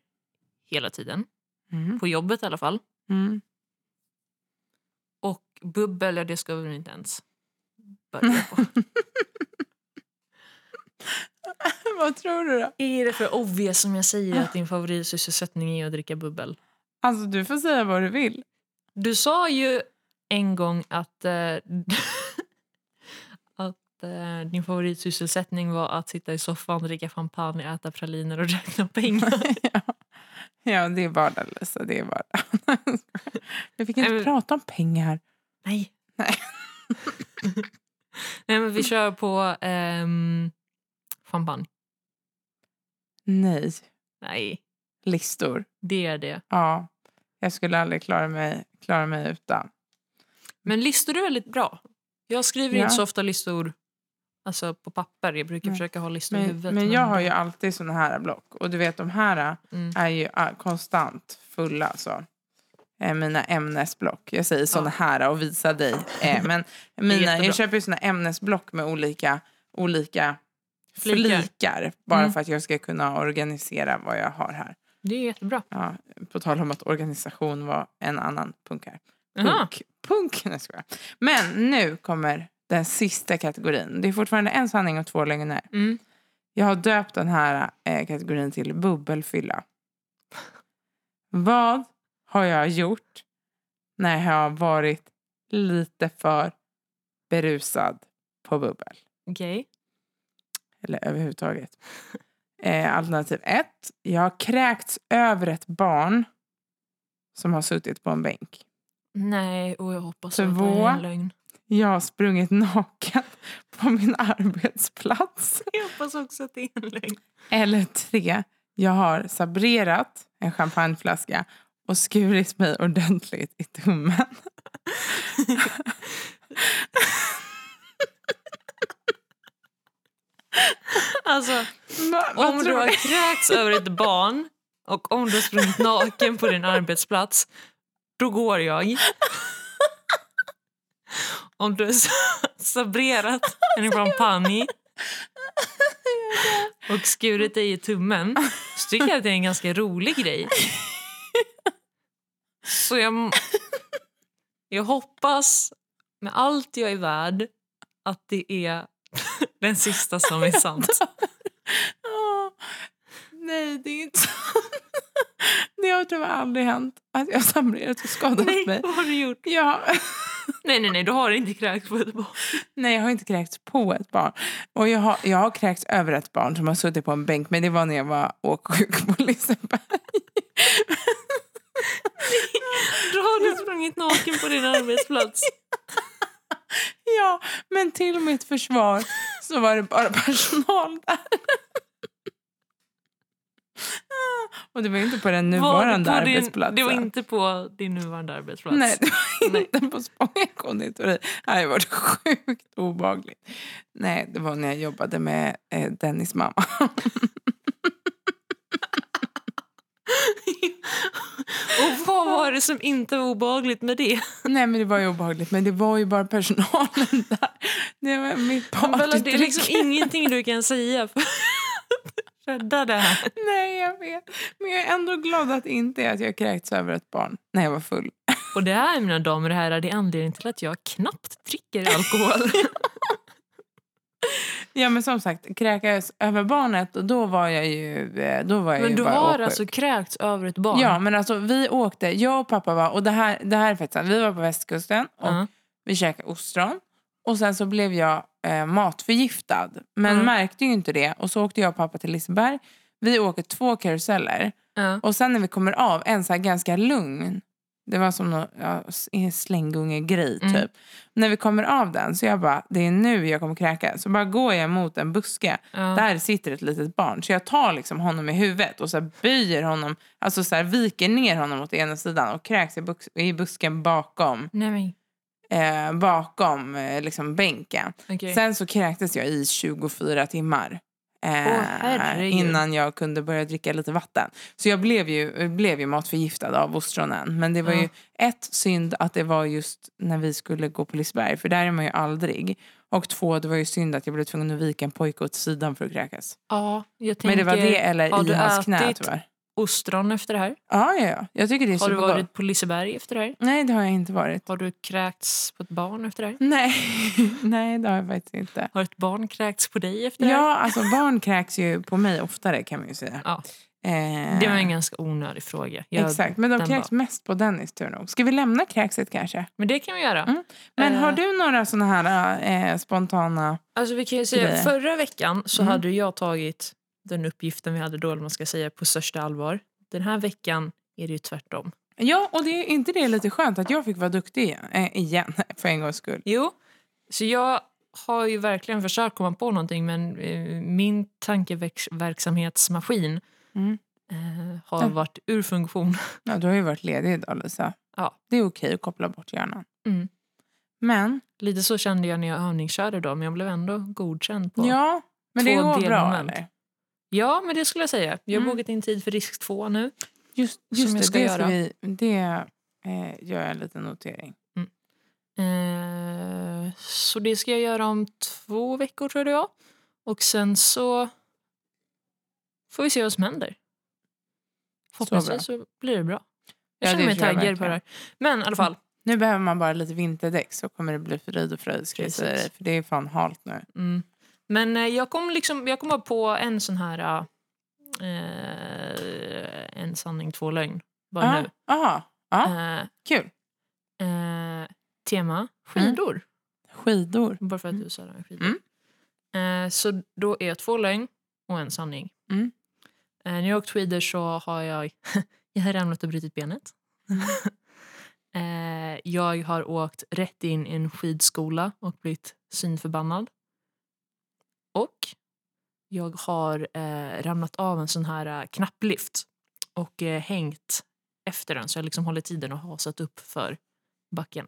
Speaker 2: hela tiden.
Speaker 1: Mm.
Speaker 2: På jobbet i alla fall.
Speaker 1: Mm.
Speaker 2: Och bubbel, ja, det ska vi inte ens börja på.
Speaker 1: Vad tror du då?
Speaker 2: är det för obvious som jag säger att din favoritsysselsättning är att dricka bubbel?
Speaker 1: Alltså, du får säga vad du vill.
Speaker 2: Du sa ju en gång att, eh, att eh, din favoritsysselsättning var att sitta i soffan, dricka champagne, äta praliner och räkna pengar.
Speaker 1: ja. ja, det är vardag, Lisa. Det är vardag. Jag fick inte
Speaker 2: Nej, men-
Speaker 1: prata om pengar.
Speaker 2: Nej.
Speaker 1: Nej.
Speaker 2: Nej, men vi kör på ehm, champagne.
Speaker 1: Nej,
Speaker 2: Nej,
Speaker 1: listor.
Speaker 2: det är det.
Speaker 1: Ja, jag skulle aldrig klara mig, klara mig utan.
Speaker 2: Men listor är väldigt bra. Jag skriver
Speaker 1: Ja.
Speaker 2: inte så ofta listor alltså på papper. Jag brukar
Speaker 1: Nej.
Speaker 2: försöka ha listor i
Speaker 1: Men,
Speaker 2: huvudet.
Speaker 1: men jag har ju alltid såna här block. Och du vet, de här äh,
Speaker 2: Mm.
Speaker 1: är ju ah, konstant fulla. Så. Eh, Mina ämnesblock. Jag säger såna här och visar dig. Eh, Men mina,
Speaker 2: jättebra.
Speaker 1: jag köper ju såna ämnesblock med olika, olika
Speaker 2: Flikar.
Speaker 1: flikar. Bara
Speaker 2: Mm.
Speaker 1: för att jag ska kunna organisera vad jag har här.
Speaker 2: Det är jättebra.
Speaker 1: Ja, på tal om att organisation var en annan punk här.
Speaker 2: Aha.
Speaker 1: Punk. Punk. Nej, jag skojar. Men nu kommer den sista kategorin. Det är fortfarande en sanning och två lögner.
Speaker 2: Mm.
Speaker 1: Jag har döpt den här eh, kategorin till bubbelfylla. Vad har jag gjort när jag har varit lite för berusad på bubbel.
Speaker 2: Okej.
Speaker 1: Eller överhuvudtaget. Eh, alternativ ett. Jag har kräkts över ett barn som har suttit på en bänk.
Speaker 2: Nej, och jag hoppas
Speaker 1: Två.
Speaker 2: att det är en lögn.
Speaker 1: Jag har sprungit naken på min arbetsplats.
Speaker 2: Jag hoppas också att det är en lögn.
Speaker 1: Eller tre. Jag har sabrerat en champagneflaska och skurit mig ordentligt i tummen.
Speaker 2: Alltså,
Speaker 1: Va- vad
Speaker 2: om du
Speaker 1: tror
Speaker 2: har
Speaker 1: ni?
Speaker 2: kräkts över ett barn och om du har sprungit naken på din arbetsplats, då går jag. Om du har sa- sabrerat en champagne och skurit dig i tummen så tycker jag att det är en ganska rolig grej. Så jag, jag hoppas med allt jag är värd att det är den sista som är sant.
Speaker 1: Åh, Nej, det är inte sant. Det har tyvärr aldrig hänt att jag har sabrerat och skadat mig.
Speaker 2: vad har du gjort?
Speaker 1: Jag har...
Speaker 2: Nej, nej, nej, du har inte kräkts på ett barn.
Speaker 1: Nej, jag har inte kräkts på ett barn. Och jag har, jag har kräkts över ett barn som har suttit på en bänk. Men det var när jag var åksjuk på Liseberg.
Speaker 2: Då har du sprungit naken på din arbetsplats.
Speaker 1: Ja, men till mitt försvar så var det bara personal där. Och det var ju inte på den nuvarande
Speaker 2: Var det på din-
Speaker 1: arbetsplatsen.
Speaker 2: Det var inte på din nuvarande arbetsplats.
Speaker 1: Nej, det var inte på Spånga konditori. Det hade varit sjukt obagligt. Nej, det var när jag jobbade med eh, Dennis mamma.
Speaker 2: Och vad var det som inte var obehagligt med det?
Speaker 1: Nej, men det var ju obehagligt. Men det var ju bara personalen där. Det var mitt
Speaker 2: Bella, det är
Speaker 1: partytrick.
Speaker 2: liksom ingenting du kan säga för att rädda det här.
Speaker 1: Nej, jag vet. Men jag är ändå glad att det inte är att jag kräkts över ett barn när jag var full.
Speaker 2: Och det här, mina damer och herrar, det är anledningen till att jag knappt dricker alkohol.
Speaker 1: Ja, men som sagt, kräkas över barnet och då var jag ju, eh, då var jag
Speaker 2: Men
Speaker 1: ju
Speaker 2: du
Speaker 1: bara
Speaker 2: har
Speaker 1: åksjuk.
Speaker 2: alltså kräkts över ett barn?
Speaker 1: Ja, men alltså vi åkte, jag och pappa var, och det här, det här är faktiskt sant. vi var på västkusten och
Speaker 2: Ja.
Speaker 1: vi käkade ostron. Och sen så blev jag eh, matförgiftad, men
Speaker 2: Mm.
Speaker 1: märkte ju inte det. Och så åkte jag och pappa till Liseberg. Vi åker två karuseller.
Speaker 2: Ja.
Speaker 1: Och sen när vi kommer av, en så här ganska lugn. Det var som någon, ja, en slänggunge-grej typ.
Speaker 2: Mm.
Speaker 1: När vi kommer av den så jag bara, det är nu jag kommer kräkas. Så bara går jag mot en buske.
Speaker 2: Ja.
Speaker 1: Där sitter ett litet barn. Så jag tar liksom honom i huvudet och så här böjer honom. Alltså så här viker ner honom åt ena sidan och kräks i, bux- i busken bakom,
Speaker 2: Nej, men
Speaker 1: eh, bakom eh, liksom bänken.
Speaker 2: okej.
Speaker 1: Sen så kräktes jag i 24 timmar. eh,
Speaker 2: Åh, herregud.
Speaker 1: innan jag kunde börja dricka lite vatten. Så jag blev ju, blev ju matförgiftad av ostronen. Men det var
Speaker 2: Ja.
Speaker 1: ju ett synd att det var just när vi skulle gå på Liseberg. För där är man ju aldrig. Och två, det var ju synd att jag blev tvungen att vika en pojke åt sidan för att kräkas.
Speaker 2: Ja, jag tänker,
Speaker 1: Men det var det
Speaker 2: har
Speaker 1: eller
Speaker 2: du
Speaker 1: i hans knä
Speaker 2: ätit
Speaker 1: tyvärr.
Speaker 2: ostron efter det här?
Speaker 1: Ja, ja, ja. Jag tycker det är
Speaker 2: Har du
Speaker 1: supergott.
Speaker 2: varit på Liseberg efter det här?
Speaker 1: Nej, det har jag inte varit.
Speaker 2: Har du kräkts på ett barn efter det här?
Speaker 1: Nej, nej det har jag faktiskt inte.
Speaker 2: Har ett barn kräkts på dig efter det här?
Speaker 1: Ja, alltså barn kräks ju på mig oftare kan man ju säga.
Speaker 2: Ja.
Speaker 1: Eh,
Speaker 2: Det var en ganska onödig fråga. Jag,
Speaker 1: Exakt, men de
Speaker 2: den
Speaker 1: kräks mest på Dennis tur nog. Ska vi lämna kräkset kanske?
Speaker 2: Men det kan vi göra.
Speaker 1: Mm. Men
Speaker 2: Eh.
Speaker 1: har du några såna här eh, spontana...
Speaker 2: Alltså, vi kan ju säga,
Speaker 1: Grejer.
Speaker 2: förra veckan så
Speaker 1: Mm.
Speaker 2: hade jag tagit den uppgiften vi hade då, eller man ska säga, på största allvar. Den här veckan är det ju tvärtom.
Speaker 1: Ja, och det är inte det lite skönt att jag fick vara duktig igen, eh, igen för en gångs skull?
Speaker 2: Jo, så jag har ju verkligen försökt komma på någonting men eh, min tankeverksamhetsmaskin
Speaker 1: Mm.
Speaker 2: eh, har
Speaker 1: Ja.
Speaker 2: varit ur funktion.
Speaker 1: Ja, du har ju varit ledig idag Lisa.
Speaker 2: Ja.
Speaker 1: Det är okej att koppla bort hjärnan.
Speaker 2: Mm.
Speaker 1: Men,
Speaker 2: Lite så kände jag när jag övningskörde idag men jag blev ändå godkänd på
Speaker 1: ja, men det
Speaker 2: Två
Speaker 1: går bra
Speaker 2: delmoment.
Speaker 1: eller?
Speaker 2: Ja, men det skulle jag säga. Jag har
Speaker 1: Mm.
Speaker 2: bokat in tid för risk två nu.
Speaker 1: Just, just
Speaker 2: jag
Speaker 1: det,
Speaker 2: ska
Speaker 1: det, ska
Speaker 2: göra.
Speaker 1: vi, det eh, gör jag en liten notering.
Speaker 2: Eh, så det ska jag göra om två veckor tror jag det var. Och sen så får vi se vad som händer. Förhoppningsvis så, blir det bra. Jag
Speaker 1: Ja,
Speaker 2: känner
Speaker 1: det
Speaker 2: mig
Speaker 1: tror jag
Speaker 2: taggad på det här. Men i alla fall.
Speaker 1: Nu behöver man bara lite vinterdäck så kommer det bli frid och fröjd. ska jag säga
Speaker 2: Precis.
Speaker 1: dig, För det är fan halt nu.
Speaker 2: Mm. Men eh, jag kom, liksom, jag kom bara på en sån här... Eh, en sanning, två lögn. Bara
Speaker 1: Ja,
Speaker 2: nu.
Speaker 1: Aha, ja, Mm.
Speaker 2: Eh,
Speaker 1: kul.
Speaker 2: eh, tema skidor.
Speaker 1: Skidor.
Speaker 2: Bara för att du sa det med skidor.
Speaker 1: Mm.
Speaker 2: Eh, så då är jag två lögn och en sanning.
Speaker 1: Mm.
Speaker 2: Eh, när jag har åkt skidor så har jag, jag har ramlat och brutit benet. eh, jag har åkt rätt in i en skidskola och blivit synförbannad. Och jag har eh, ramlat av en sån här eh, knapplift och eh, hängt efter den så jag liksom håller tiden och hasat upp för backen.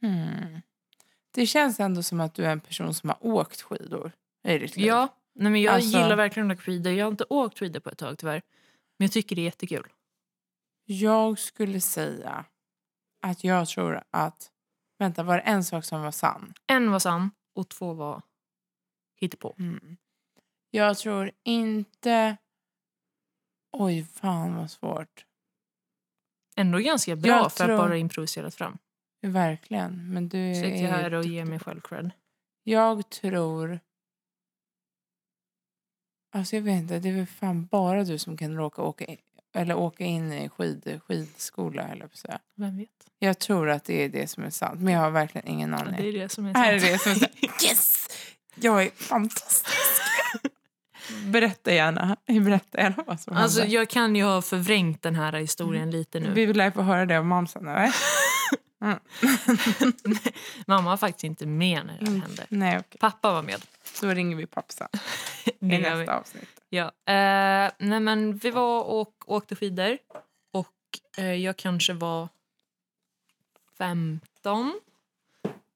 Speaker 1: Hmm. Det känns ändå som att du är en person som har åkt skidor i ditt liv.
Speaker 2: Ja, nej men jag
Speaker 1: Alltså-
Speaker 2: gillar verkligen att åka skidor. Jag har inte åkt skidor på ett tag tyvärr. Men jag tycker det är jättekul.
Speaker 1: Jag skulle säga att jag tror att... Vänta, var det en sak som var sann?
Speaker 2: En var sann och två var hittepå.
Speaker 1: Mm. Jag tror inte... Oj, fan vad svårt.
Speaker 2: Ändå ganska bra
Speaker 1: Jag
Speaker 2: för
Speaker 1: tror-
Speaker 2: att bara improvisera fram.
Speaker 1: Verkligen. Men du
Speaker 2: Sitter jag
Speaker 1: är ju
Speaker 2: här och
Speaker 1: duktig
Speaker 2: ger
Speaker 1: på
Speaker 2: mig själv cred.
Speaker 1: Jag tror... Alltså jag vet inte, det är väl fan bara du som kan råka åka in, eller åka in i skid, skidskola eller på så. här.
Speaker 2: Vem vet?
Speaker 1: Jag tror att det är det som är sant, men jag har verkligen ingen
Speaker 2: Ja, det
Speaker 1: aning.
Speaker 2: är det som är
Speaker 1: Här är
Speaker 2: sant.
Speaker 1: det som är sant. Yes! Jag är fantastisk! Berätta gärna, berätta gärna vad som
Speaker 2: Alltså,
Speaker 1: hände.
Speaker 2: jag kan ju ha förvrängt den här historien lite nu.
Speaker 1: Vi vill lära få höra det av mamsen, eller?
Speaker 2: Mamma var faktiskt inte med när det här
Speaker 1: Mm.
Speaker 2: hände.
Speaker 1: Nej, okej.
Speaker 2: Pappa var med.
Speaker 1: Då ringer vi pappsan
Speaker 2: Det
Speaker 1: i
Speaker 2: gör vi.
Speaker 1: nästa avsnitt.
Speaker 2: Ja. Eh, nej men vi var och åkte skidor och eh, jag kanske var 15.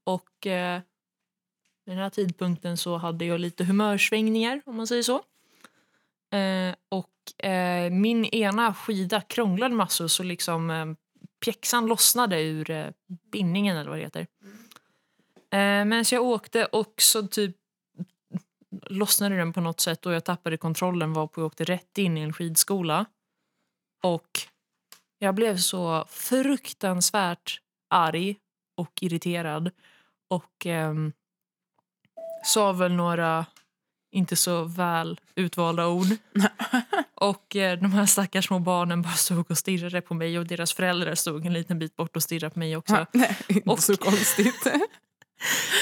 Speaker 2: Och eh, vid den här tidpunkten så hade jag lite humörsvängningar om man säger så. Eh, och eh, min ena skida krånglade massor så liksom eh, pjäxan lossnade ur eh, bindningen eller vad det heter. Eh, men så jag åkte och så typ lossnade den på något sätt och jag tappade kontrollen varpå jag åkte rätt in i en skidskola. Och jag blev så fruktansvärt arg och irriterad och ehm, sa väl några inte så väl utvalda ord. och eh, de här stackars små barnen bara stod och stirrade på mig och deras föräldrar stod en liten bit bort och stirrade på mig också.
Speaker 1: Nej, inte
Speaker 2: Och-
Speaker 1: så konstigt.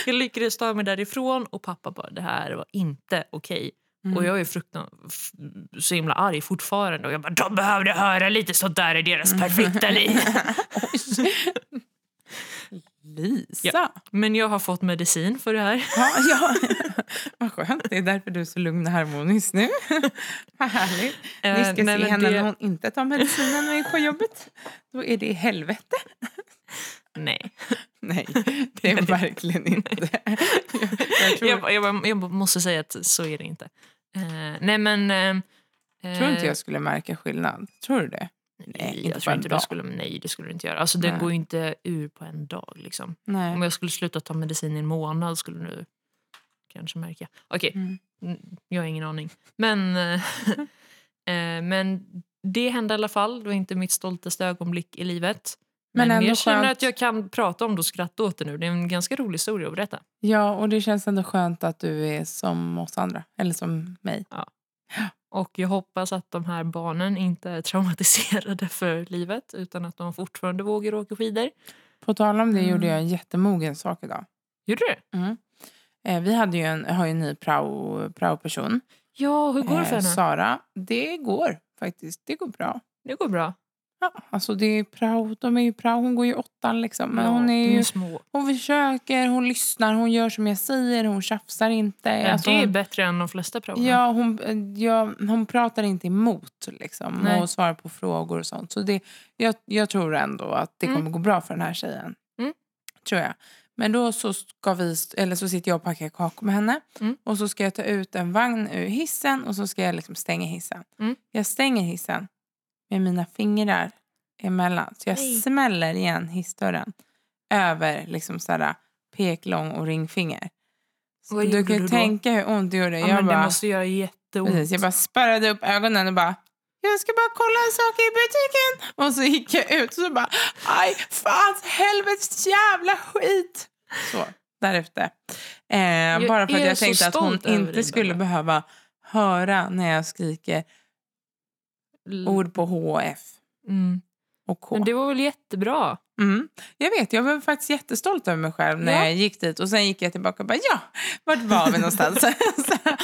Speaker 2: Jag lyckades ta mig därifrån och pappa bara det här var inte okej.
Speaker 1: Mm.
Speaker 2: Och jag är fruktan f- så himla arg fortfarande. Och jag bara, de behövde höra lite sånt där i deras
Speaker 1: Mm.
Speaker 2: perfekta liv.
Speaker 1: Lisa!
Speaker 2: Ja. Men jag har fått medicin för det här.
Speaker 1: Ja, ja. Vad skönt. Det är därför du är så lugn och harmonisk nu. Vad härligt. Ni ska
Speaker 2: Eh, nej,
Speaker 1: se
Speaker 2: men
Speaker 1: henne
Speaker 2: det-
Speaker 1: när hon inte tar medicinen och är på jobbet. Då är det i helvete.
Speaker 2: Nej.
Speaker 1: Nej, det är verkligen inte. Jag, jag tror,
Speaker 2: Jag, bara- jag, bara- jag bara måste säga att så är det inte. Eh, nej men... eh,
Speaker 1: tror inte
Speaker 2: eh,
Speaker 1: jag skulle märka skillnad. Tror du det?
Speaker 2: Nej,
Speaker 1: inte
Speaker 2: jag
Speaker 1: på
Speaker 2: tror
Speaker 1: en
Speaker 2: inte det
Speaker 1: dag.
Speaker 2: skulle, nej, det skulle du inte göra. Alltså, det
Speaker 1: Nej.
Speaker 2: går ju inte ur på en dag. Liksom. Om
Speaker 1: Nej.
Speaker 2: jag skulle sluta ta medicin i en månad skulle du kanske märka. Okej,
Speaker 1: Mm.
Speaker 2: Mm, jag har ingen aning. Men, eh, eh, men det hände i alla fall. Det var inte mitt stoltaste ögonblick i livet.
Speaker 1: Men
Speaker 2: Men,
Speaker 1: ändå
Speaker 2: jag känner
Speaker 1: skönt.
Speaker 2: att jag kan prata om det och skratta åt det nu. Det är en ganska rolig historia att berätta.
Speaker 1: Ja, och det känns ändå skönt att du är som oss andra. Eller som mig.
Speaker 2: Och jag hoppas att de här barnen inte är traumatiserade för livet utan att de fortfarande vågar åka skidor.
Speaker 1: På tal om det
Speaker 2: Mm.
Speaker 1: gjorde jag en jättemogen sak idag.
Speaker 2: Gjorde du det?
Speaker 1: Eh, vi hade ju en, har ju en ny prao- prao-person.
Speaker 2: Ja, hur går det för
Speaker 1: Eh,
Speaker 2: henne?
Speaker 1: Sara, det går faktiskt. Det går bra.
Speaker 2: Det går bra.
Speaker 1: Ja, alltså det är prao, de är ju prao, hon går ju åttan liksom. Men
Speaker 2: Ja, mm.
Speaker 1: hon, är
Speaker 2: de
Speaker 1: ju,
Speaker 2: små.
Speaker 1: hon försöker, hon lyssnar, hon gör som jag säger, hon tjafsar inte.
Speaker 2: Ja,
Speaker 1: alltså,
Speaker 2: det är
Speaker 1: hon,
Speaker 2: bättre än de flesta proven.
Speaker 1: ja, hon, eh, ja, hon pratar inte emot liksom,
Speaker 2: Nej.
Speaker 1: och svarar på frågor och sånt. Så det, jag, jag tror ändå att det
Speaker 2: Mm.
Speaker 1: kommer gå bra för den här tjejen.
Speaker 2: Mm.
Speaker 1: Tror jag. Men då så, ska vi, eller så sitter jag och packar kakor med henne.
Speaker 2: Mm.
Speaker 1: Och så ska jag ta ut en vagn ur hissen och så ska jag liksom stänga hissen.
Speaker 2: Mm.
Speaker 1: Jag stänger hissen med mina fingrar emellan. Så jag
Speaker 2: Nej.
Speaker 1: smäller igen hissdörren över liksom sådär peklång och ringfinger. Så
Speaker 2: Vad
Speaker 1: du
Speaker 2: gjorde
Speaker 1: kan
Speaker 2: du
Speaker 1: ju
Speaker 2: då?
Speaker 1: tänka hur ont det gjorde.
Speaker 2: Ja,
Speaker 1: jag,
Speaker 2: men det
Speaker 1: bara,
Speaker 2: måste göra jätteont.
Speaker 1: precis, jag bara spärrade upp ögonen och bara jag ska bara kolla en sak i butiken. Och så gick jag ut och så bara aj, fan, helvetes jävla skit. Så, därefter. Eh,
Speaker 2: Jag
Speaker 1: bara för att
Speaker 2: är
Speaker 1: jag
Speaker 2: så
Speaker 1: tänkte att hon
Speaker 2: stolt över dig,
Speaker 1: inte skulle
Speaker 2: Bella.
Speaker 1: behöva höra när jag skriker
Speaker 2: L-
Speaker 1: ord på H och F
Speaker 2: Mm.
Speaker 1: och K.
Speaker 2: Men det var väl jättebra?
Speaker 1: Mm. Jag vet, jag var faktiskt jättestolt över mig själv när
Speaker 2: Ja.
Speaker 1: jag gick dit och sen gick jag tillbaka och bara ja, vart var vi någonstans? Så här,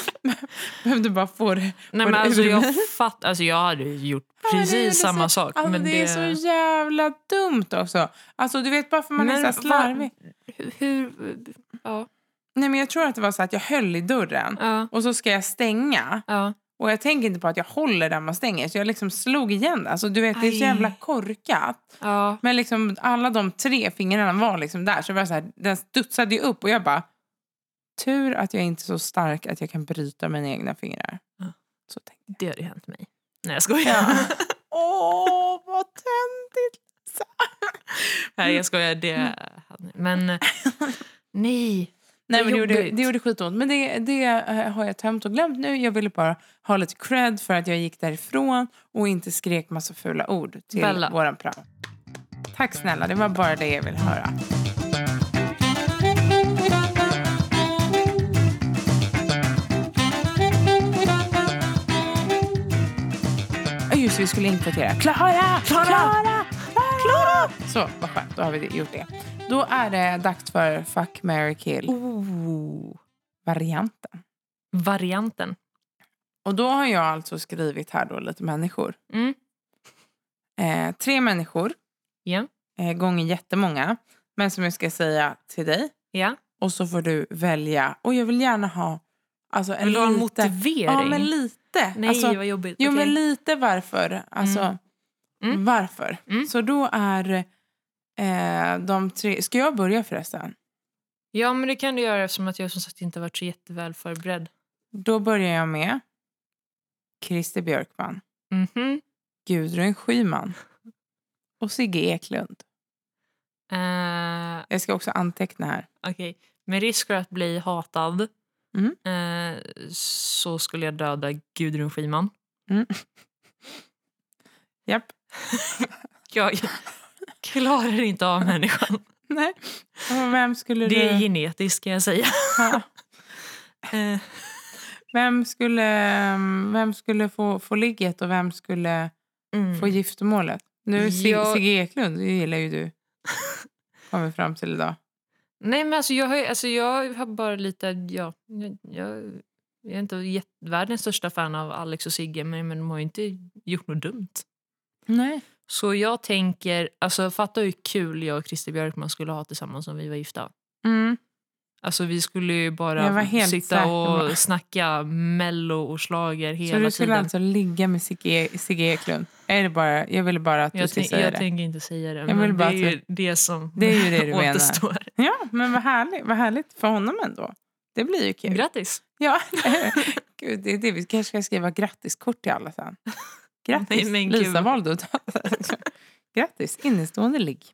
Speaker 1: Behövde bara få det.
Speaker 2: Nej,
Speaker 1: Var
Speaker 2: men
Speaker 1: det
Speaker 2: alltså,
Speaker 1: ur
Speaker 2: jag,
Speaker 1: mig?
Speaker 2: fatt, alltså, jag hade ju gjort
Speaker 1: Ja, men det är
Speaker 2: precis
Speaker 1: liksom-
Speaker 2: samma sak.
Speaker 1: Alltså,
Speaker 2: men
Speaker 1: det... är så jävla dumt också. Alltså du vet bara för man är så här
Speaker 2: Men
Speaker 1: slarvig.
Speaker 2: vad- Hur... Ja.
Speaker 1: Nej men jag tror att det var så att jag höll i dörren
Speaker 2: ja,
Speaker 1: och så ska jag stänga.
Speaker 2: ja.
Speaker 1: Och jag tänker inte på att jag håller där man stänger så jag liksom slog igen det. Alltså du vet det är så
Speaker 2: Aj.
Speaker 1: jävla korkat.
Speaker 2: ja.
Speaker 1: Men liksom alla de tre fingrarna var liksom där. Så det var så här, den studsade ju upp och jag bara... Tur att jag inte är så stark att jag kan bryta mina egna fingrar.
Speaker 2: Ja.
Speaker 1: Så tänkte jag.
Speaker 2: Det har ju hänt mig. Nej, jag skojar.
Speaker 1: Ja. Åh, vad tändigt!
Speaker 2: Nej, jag skojar.
Speaker 1: Mm.
Speaker 2: Det... Men... eh, Nej.
Speaker 1: Nej, men det, gjorde,
Speaker 2: Jobbigt.
Speaker 1: det gjorde skitont. Men det, det eh, har jag tömt och glömt nu. Jag ville bara ha lite cred för att jag gick därifrån och inte skrek massa fula ord till
Speaker 2: Bella.
Speaker 1: våran prao. Tack snälla, det var bara det jag ville höra. Ja, Just det, vi skulle inkvotera. Klara! Klara! Klara! Klara! Så, vad skönt. Då har vi det- gjort det. Då är det dags för Fuck, marry, kill
Speaker 2: Oh.
Speaker 1: varianten.
Speaker 2: Varianten.
Speaker 1: Och då har jag alltså skrivit här då lite människor.
Speaker 2: Mm.
Speaker 1: Eh, tre människor
Speaker 2: Ja.
Speaker 1: eh, gånger jättemånga. Men som jag ska säga till dig.
Speaker 2: ja.
Speaker 1: Och så får du välja. Och jag vill gärna ha... Alltså, en
Speaker 2: Vill du ha en
Speaker 1: lite-
Speaker 2: motivering?
Speaker 1: Ja, men lite.
Speaker 2: Nej,
Speaker 1: alltså,
Speaker 2: vad jobbigt.
Speaker 1: Jo,
Speaker 2: Okej.
Speaker 1: men lite varför. Alltså,
Speaker 2: Mm.
Speaker 1: varför.
Speaker 2: Mm.
Speaker 1: Så då är eh, de tre... Ska jag börja förresten?
Speaker 2: Ja, men det kan du göra eftersom att jag som sagt inte har varit så jätteväl förberedd.
Speaker 1: Då börjar jag med Christer Björkman,
Speaker 2: Mhm.
Speaker 1: Gudrun Schyman och Sigge Eklund.
Speaker 2: Eh,
Speaker 1: Jag ska också anteckna här.
Speaker 2: Okej. Med risk för att bli hatad
Speaker 1: Mm.
Speaker 2: eh, så skulle jag döda Gudrun Schyman.
Speaker 1: Japp.
Speaker 2: Jag klarar inte av människan.
Speaker 1: Nej. Och Vem skulle
Speaker 2: Det är
Speaker 1: du...
Speaker 2: genetiskt kan jag säga.
Speaker 1: Ha,
Speaker 2: Eh,
Speaker 1: vem skulle, mm, vem skulle få, få ligget och vem skulle
Speaker 2: mm.
Speaker 1: få giftermålet? Nu Sig-
Speaker 2: Jag-
Speaker 1: Sigge Eklund, det gillar ju du. Kommer fram till idag.
Speaker 2: Nej, men alltså jag, har, ju- alltså jag har bara lite... Ja, jag, jag jag är inte jätte- världens största fan av Alex och Sigge men, men de har ju inte gjort något dumt.
Speaker 1: Nej.
Speaker 2: Så jag tänker... Alltså, fatta hur kul jag och Christer Björkman skulle ha tillsammans om vi var gifta.
Speaker 1: Mm.
Speaker 2: Alltså, vi skulle ju
Speaker 1: Jag var
Speaker 2: bara
Speaker 1: helt
Speaker 2: sitta
Speaker 1: säker på-
Speaker 2: och snacka mello och slager
Speaker 1: Så du
Speaker 2: hela
Speaker 1: skulle
Speaker 2: tiden.
Speaker 1: alltså ligga med Sigge, Sigge Eklund? Är det bara, jag ville bara att du
Speaker 2: jag
Speaker 1: skulle
Speaker 2: tänk,
Speaker 1: säga
Speaker 2: jag
Speaker 1: det.
Speaker 2: tänker inte säga det,
Speaker 1: vill
Speaker 2: men det
Speaker 1: bara
Speaker 2: är ju det som
Speaker 1: Det är ju det du menar.
Speaker 2: återstår.
Speaker 1: Ja, men vad härligt, vad härligt för honom ändå. Det blir ju kul.
Speaker 2: Grattis!
Speaker 1: ja. Gud, det är det. Vi kanske ska skriva grattiskort till alla sen. Grattis,
Speaker 2: Nej, men gud.
Speaker 1: Lisa valde att ta Grattis, innestående ligg.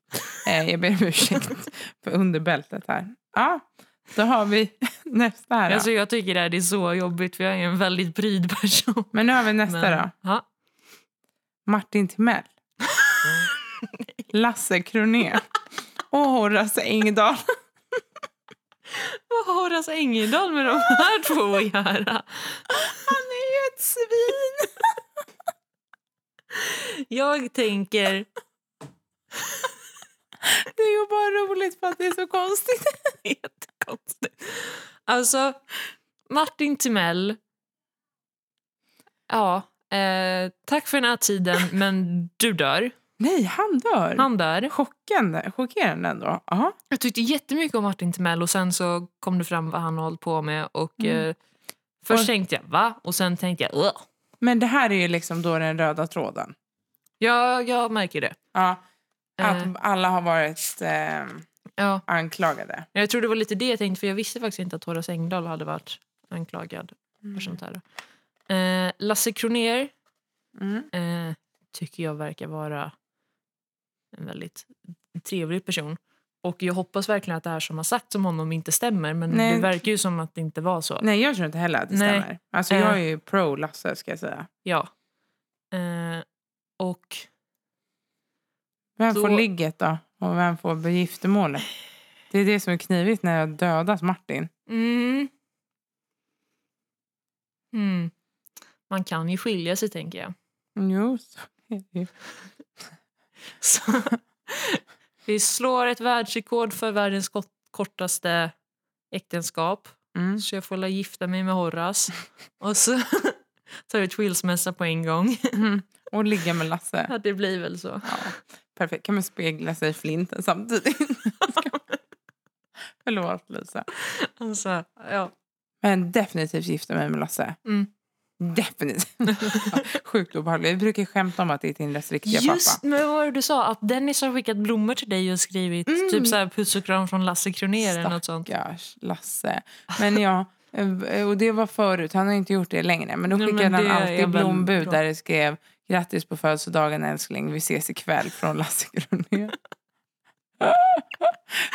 Speaker 1: Eh, jag ber om ursäkt för underbältet här. Ja, då har vi nästa här. då.
Speaker 2: Alltså, jag tycker det här är så jobbigt, för jag är en väldigt pryd person.
Speaker 1: men nu har vi nästa
Speaker 2: Men-
Speaker 1: då.
Speaker 2: Ja.
Speaker 1: Martin Timell. Lasse Kronér. Och Horace Engdahl.
Speaker 2: Vad har Horace Engdahl med de här två att göra?
Speaker 1: Han är ju ett svin!
Speaker 2: Jag tänker...
Speaker 1: Det är ju bara roligt för att det är så konstigt.
Speaker 2: Jättekonstigt. Alltså, Martin Timell... Ja, eh, tack för den här tiden, men du dör.
Speaker 1: Nej, han dör.
Speaker 2: Han dör.
Speaker 1: Chockande, chockerande ändå. Ja.
Speaker 2: Jag tyckte jättemycket om Martin Timell och sen så kom det fram vad han har hållit på med. Och,
Speaker 1: Mm.
Speaker 2: eh, först
Speaker 1: Och-
Speaker 2: tänkte jag va? Och sen tänkte jag "Ugh."
Speaker 1: Men det här är ju liksom då den röda tråden.
Speaker 2: ja, jag märker det.
Speaker 1: Ja, att
Speaker 2: Eh,
Speaker 1: alla har varit eh,
Speaker 2: ja.
Speaker 1: anklagade.
Speaker 2: Jag tror det var lite det jag tänkte för jag visste faktiskt inte att Horace Engdahl hade varit anklagad för sånt här. Eh, Lasse Kronér
Speaker 1: Mm.
Speaker 2: eh, tycker jag verkar vara en väldigt trevlig person. Och jag hoppas verkligen att det här som har sagts om honom inte stämmer men
Speaker 1: Nej.
Speaker 2: det verkar ju som att det inte var så.
Speaker 1: Nej, jag tror inte heller att det
Speaker 2: Nej.
Speaker 1: stämmer. Alltså,
Speaker 2: Eh.
Speaker 1: jag är ju pro-Lasse, ska jag säga.
Speaker 2: Ja. Eh, och
Speaker 1: Vem
Speaker 2: Då-
Speaker 1: får ligget då? Och vem får begiftermålet? Det är det som är knivigt när jag dödas Martin.
Speaker 2: Mm. Mm. Man kan ju skilja sig, tänker jag.
Speaker 1: Jo, så är det ju.
Speaker 2: Så, Vi slår ett världsrekord för världens kort- kortaste äktenskap.
Speaker 1: Mm.
Speaker 2: Så jag får la gifta mig med Horace. Och så tar vi ett skilsmässa på en gång.
Speaker 1: Mm. Och ligga med Lasse.
Speaker 2: Ja, det blir väl så.
Speaker 1: Ja, perfekt. Kan man spegla sig i flinten samtidigt? Förlåt, Lisa.
Speaker 2: Alltså, ja.
Speaker 1: Men definitivt gifta mig med Lasse.
Speaker 2: Mm.
Speaker 1: Definitivt. Sjukt obehagligt. Vi brukar ju skämta om att det är Tindras riktiga
Speaker 2: Just
Speaker 1: pappa.
Speaker 2: med vad var det du sa, att Dennis har skickat blommor till dig och skrivit
Speaker 1: Mm.
Speaker 2: typ så här puss och kram från Lasse Kronér eller något sånt.
Speaker 1: Gosh, Lasse. Men ja, eh, och det var förut. Han har inte gjort det längre. Men då
Speaker 2: Nej, men
Speaker 1: skickade
Speaker 2: det
Speaker 1: han
Speaker 2: är
Speaker 1: alltid
Speaker 2: väl
Speaker 1: blombud
Speaker 2: bra.
Speaker 1: där det skrev grattis på födelsedagen älskling. Vi ses ikväll från Lasse Kronér.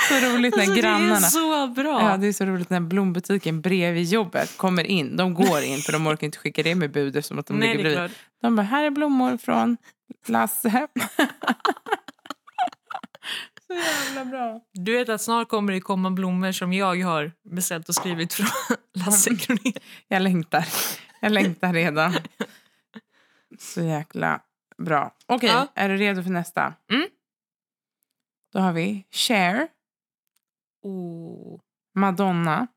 Speaker 1: Så roligt när
Speaker 2: Alltså, det är
Speaker 1: grannarna...
Speaker 2: så bra!
Speaker 1: Ja, det är så roligt när blombutiken bredvid jobbet kommer in. De går in för de orkar inte skicka det med bud eftersom att de
Speaker 2: Nej,
Speaker 1: ligger
Speaker 2: det är
Speaker 1: bredvid.
Speaker 2: klart.
Speaker 1: De bara, här är blommor från Lasse. så jävla bra.
Speaker 2: Du vet att snart kommer det komma blommor som jag har beställt och skrivit från Lasse Kronér.
Speaker 1: Jag längtar. Jag längtar redan. Så jäkla bra. Okej,
Speaker 2: Ja.
Speaker 1: är du redo för nästa?
Speaker 2: Mm.
Speaker 1: Då har vi Cher,
Speaker 2: Oh.
Speaker 1: Madonna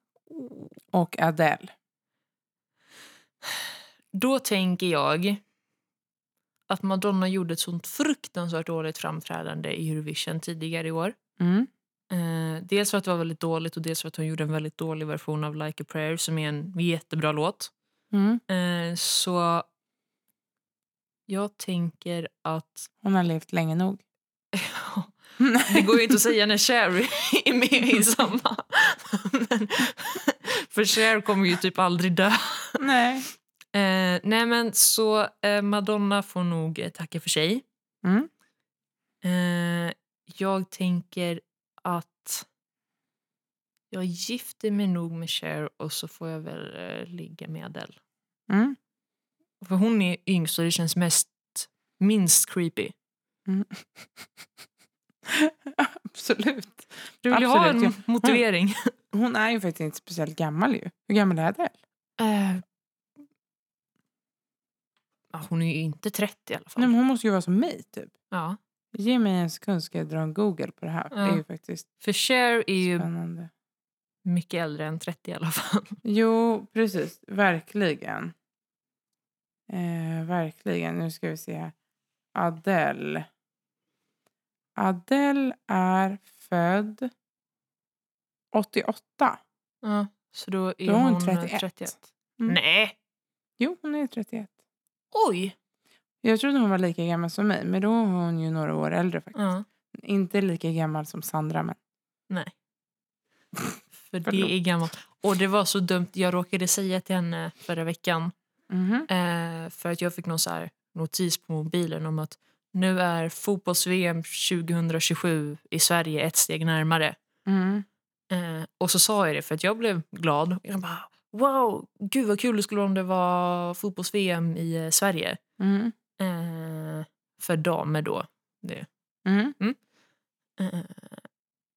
Speaker 1: och Adele.
Speaker 2: Då tänker jag att Madonna gjorde ett sånt fruktansvärt dåligt framträdande i Eurovision tidigare i år.
Speaker 1: Mm.
Speaker 2: Eh, dels för att det var väldigt dåligt och dels för att hon gjorde en väldigt dålig version av Like a prayer som är en jättebra låt.
Speaker 1: Mm.
Speaker 2: Eh, så jag tänker att...
Speaker 1: Hon har levt länge nog.
Speaker 2: Det går ju inte att säga när Cher är med i samma. Men, för Cher kommer ju typ aldrig dö.
Speaker 1: Nej.
Speaker 2: Eh, nej men så eh, Madonna får nog eh, tacka för sig.
Speaker 1: Mm.
Speaker 2: Eh, jag tänker att jag gifter mig nog med Cher och så får jag väl eh, ligga med Adele.
Speaker 1: Mm.
Speaker 2: För hon är yngst och det känns mest, minst creepy.
Speaker 1: Absolut.
Speaker 2: Du vill ju ha
Speaker 1: Absolut,
Speaker 2: en motivering.
Speaker 1: Hon är ju faktiskt inte speciellt gammal. ju. Hur gammal är Adele?
Speaker 2: Eh, ja, hon är ju inte 30 i alla fall.
Speaker 1: Nej, men hon måste ju vara som mig. typ.
Speaker 2: ja.
Speaker 1: Ge mig en sekund ska jag dra en Google på det här. för Det är ju faktiskt
Speaker 2: För Cher är ju
Speaker 1: spännande.
Speaker 2: mycket äldre än 30 i alla fall.
Speaker 1: Jo, precis. Verkligen. Eh, verkligen. Nu ska vi se här. Adele. Adele är född 88.
Speaker 2: Ja, så då är
Speaker 1: Då är
Speaker 2: hon,
Speaker 1: hon
Speaker 2: eh,
Speaker 1: 31.
Speaker 2: 31.
Speaker 1: Mm.
Speaker 2: Nej!
Speaker 1: Jo, hon är 31.
Speaker 2: Oj!
Speaker 1: Jag trodde hon var lika gammal som mig, men då är hon ju några år äldre faktiskt.
Speaker 2: Ja,
Speaker 1: Inte lika gammal som Sandra, men...
Speaker 2: nej. För
Speaker 1: Förlåt.
Speaker 2: det är gammalt. Och det var så dumt. Jag råkade säga till henne förra veckan
Speaker 1: Mhm,
Speaker 2: eh, för att jag fick någon så här notis på mobilen om att nu är fotbolls-VM 2027 i Sverige ett steg närmare.
Speaker 1: Mm.
Speaker 2: Eh, och så sa jag det för att jag blev glad. Jag bara, wow, gud vad kul det skulle vara om det var fotbolls-VM i eh, Sverige.
Speaker 1: Mm.
Speaker 2: Eh, för damer då. Det.
Speaker 1: Mm.
Speaker 2: Eh,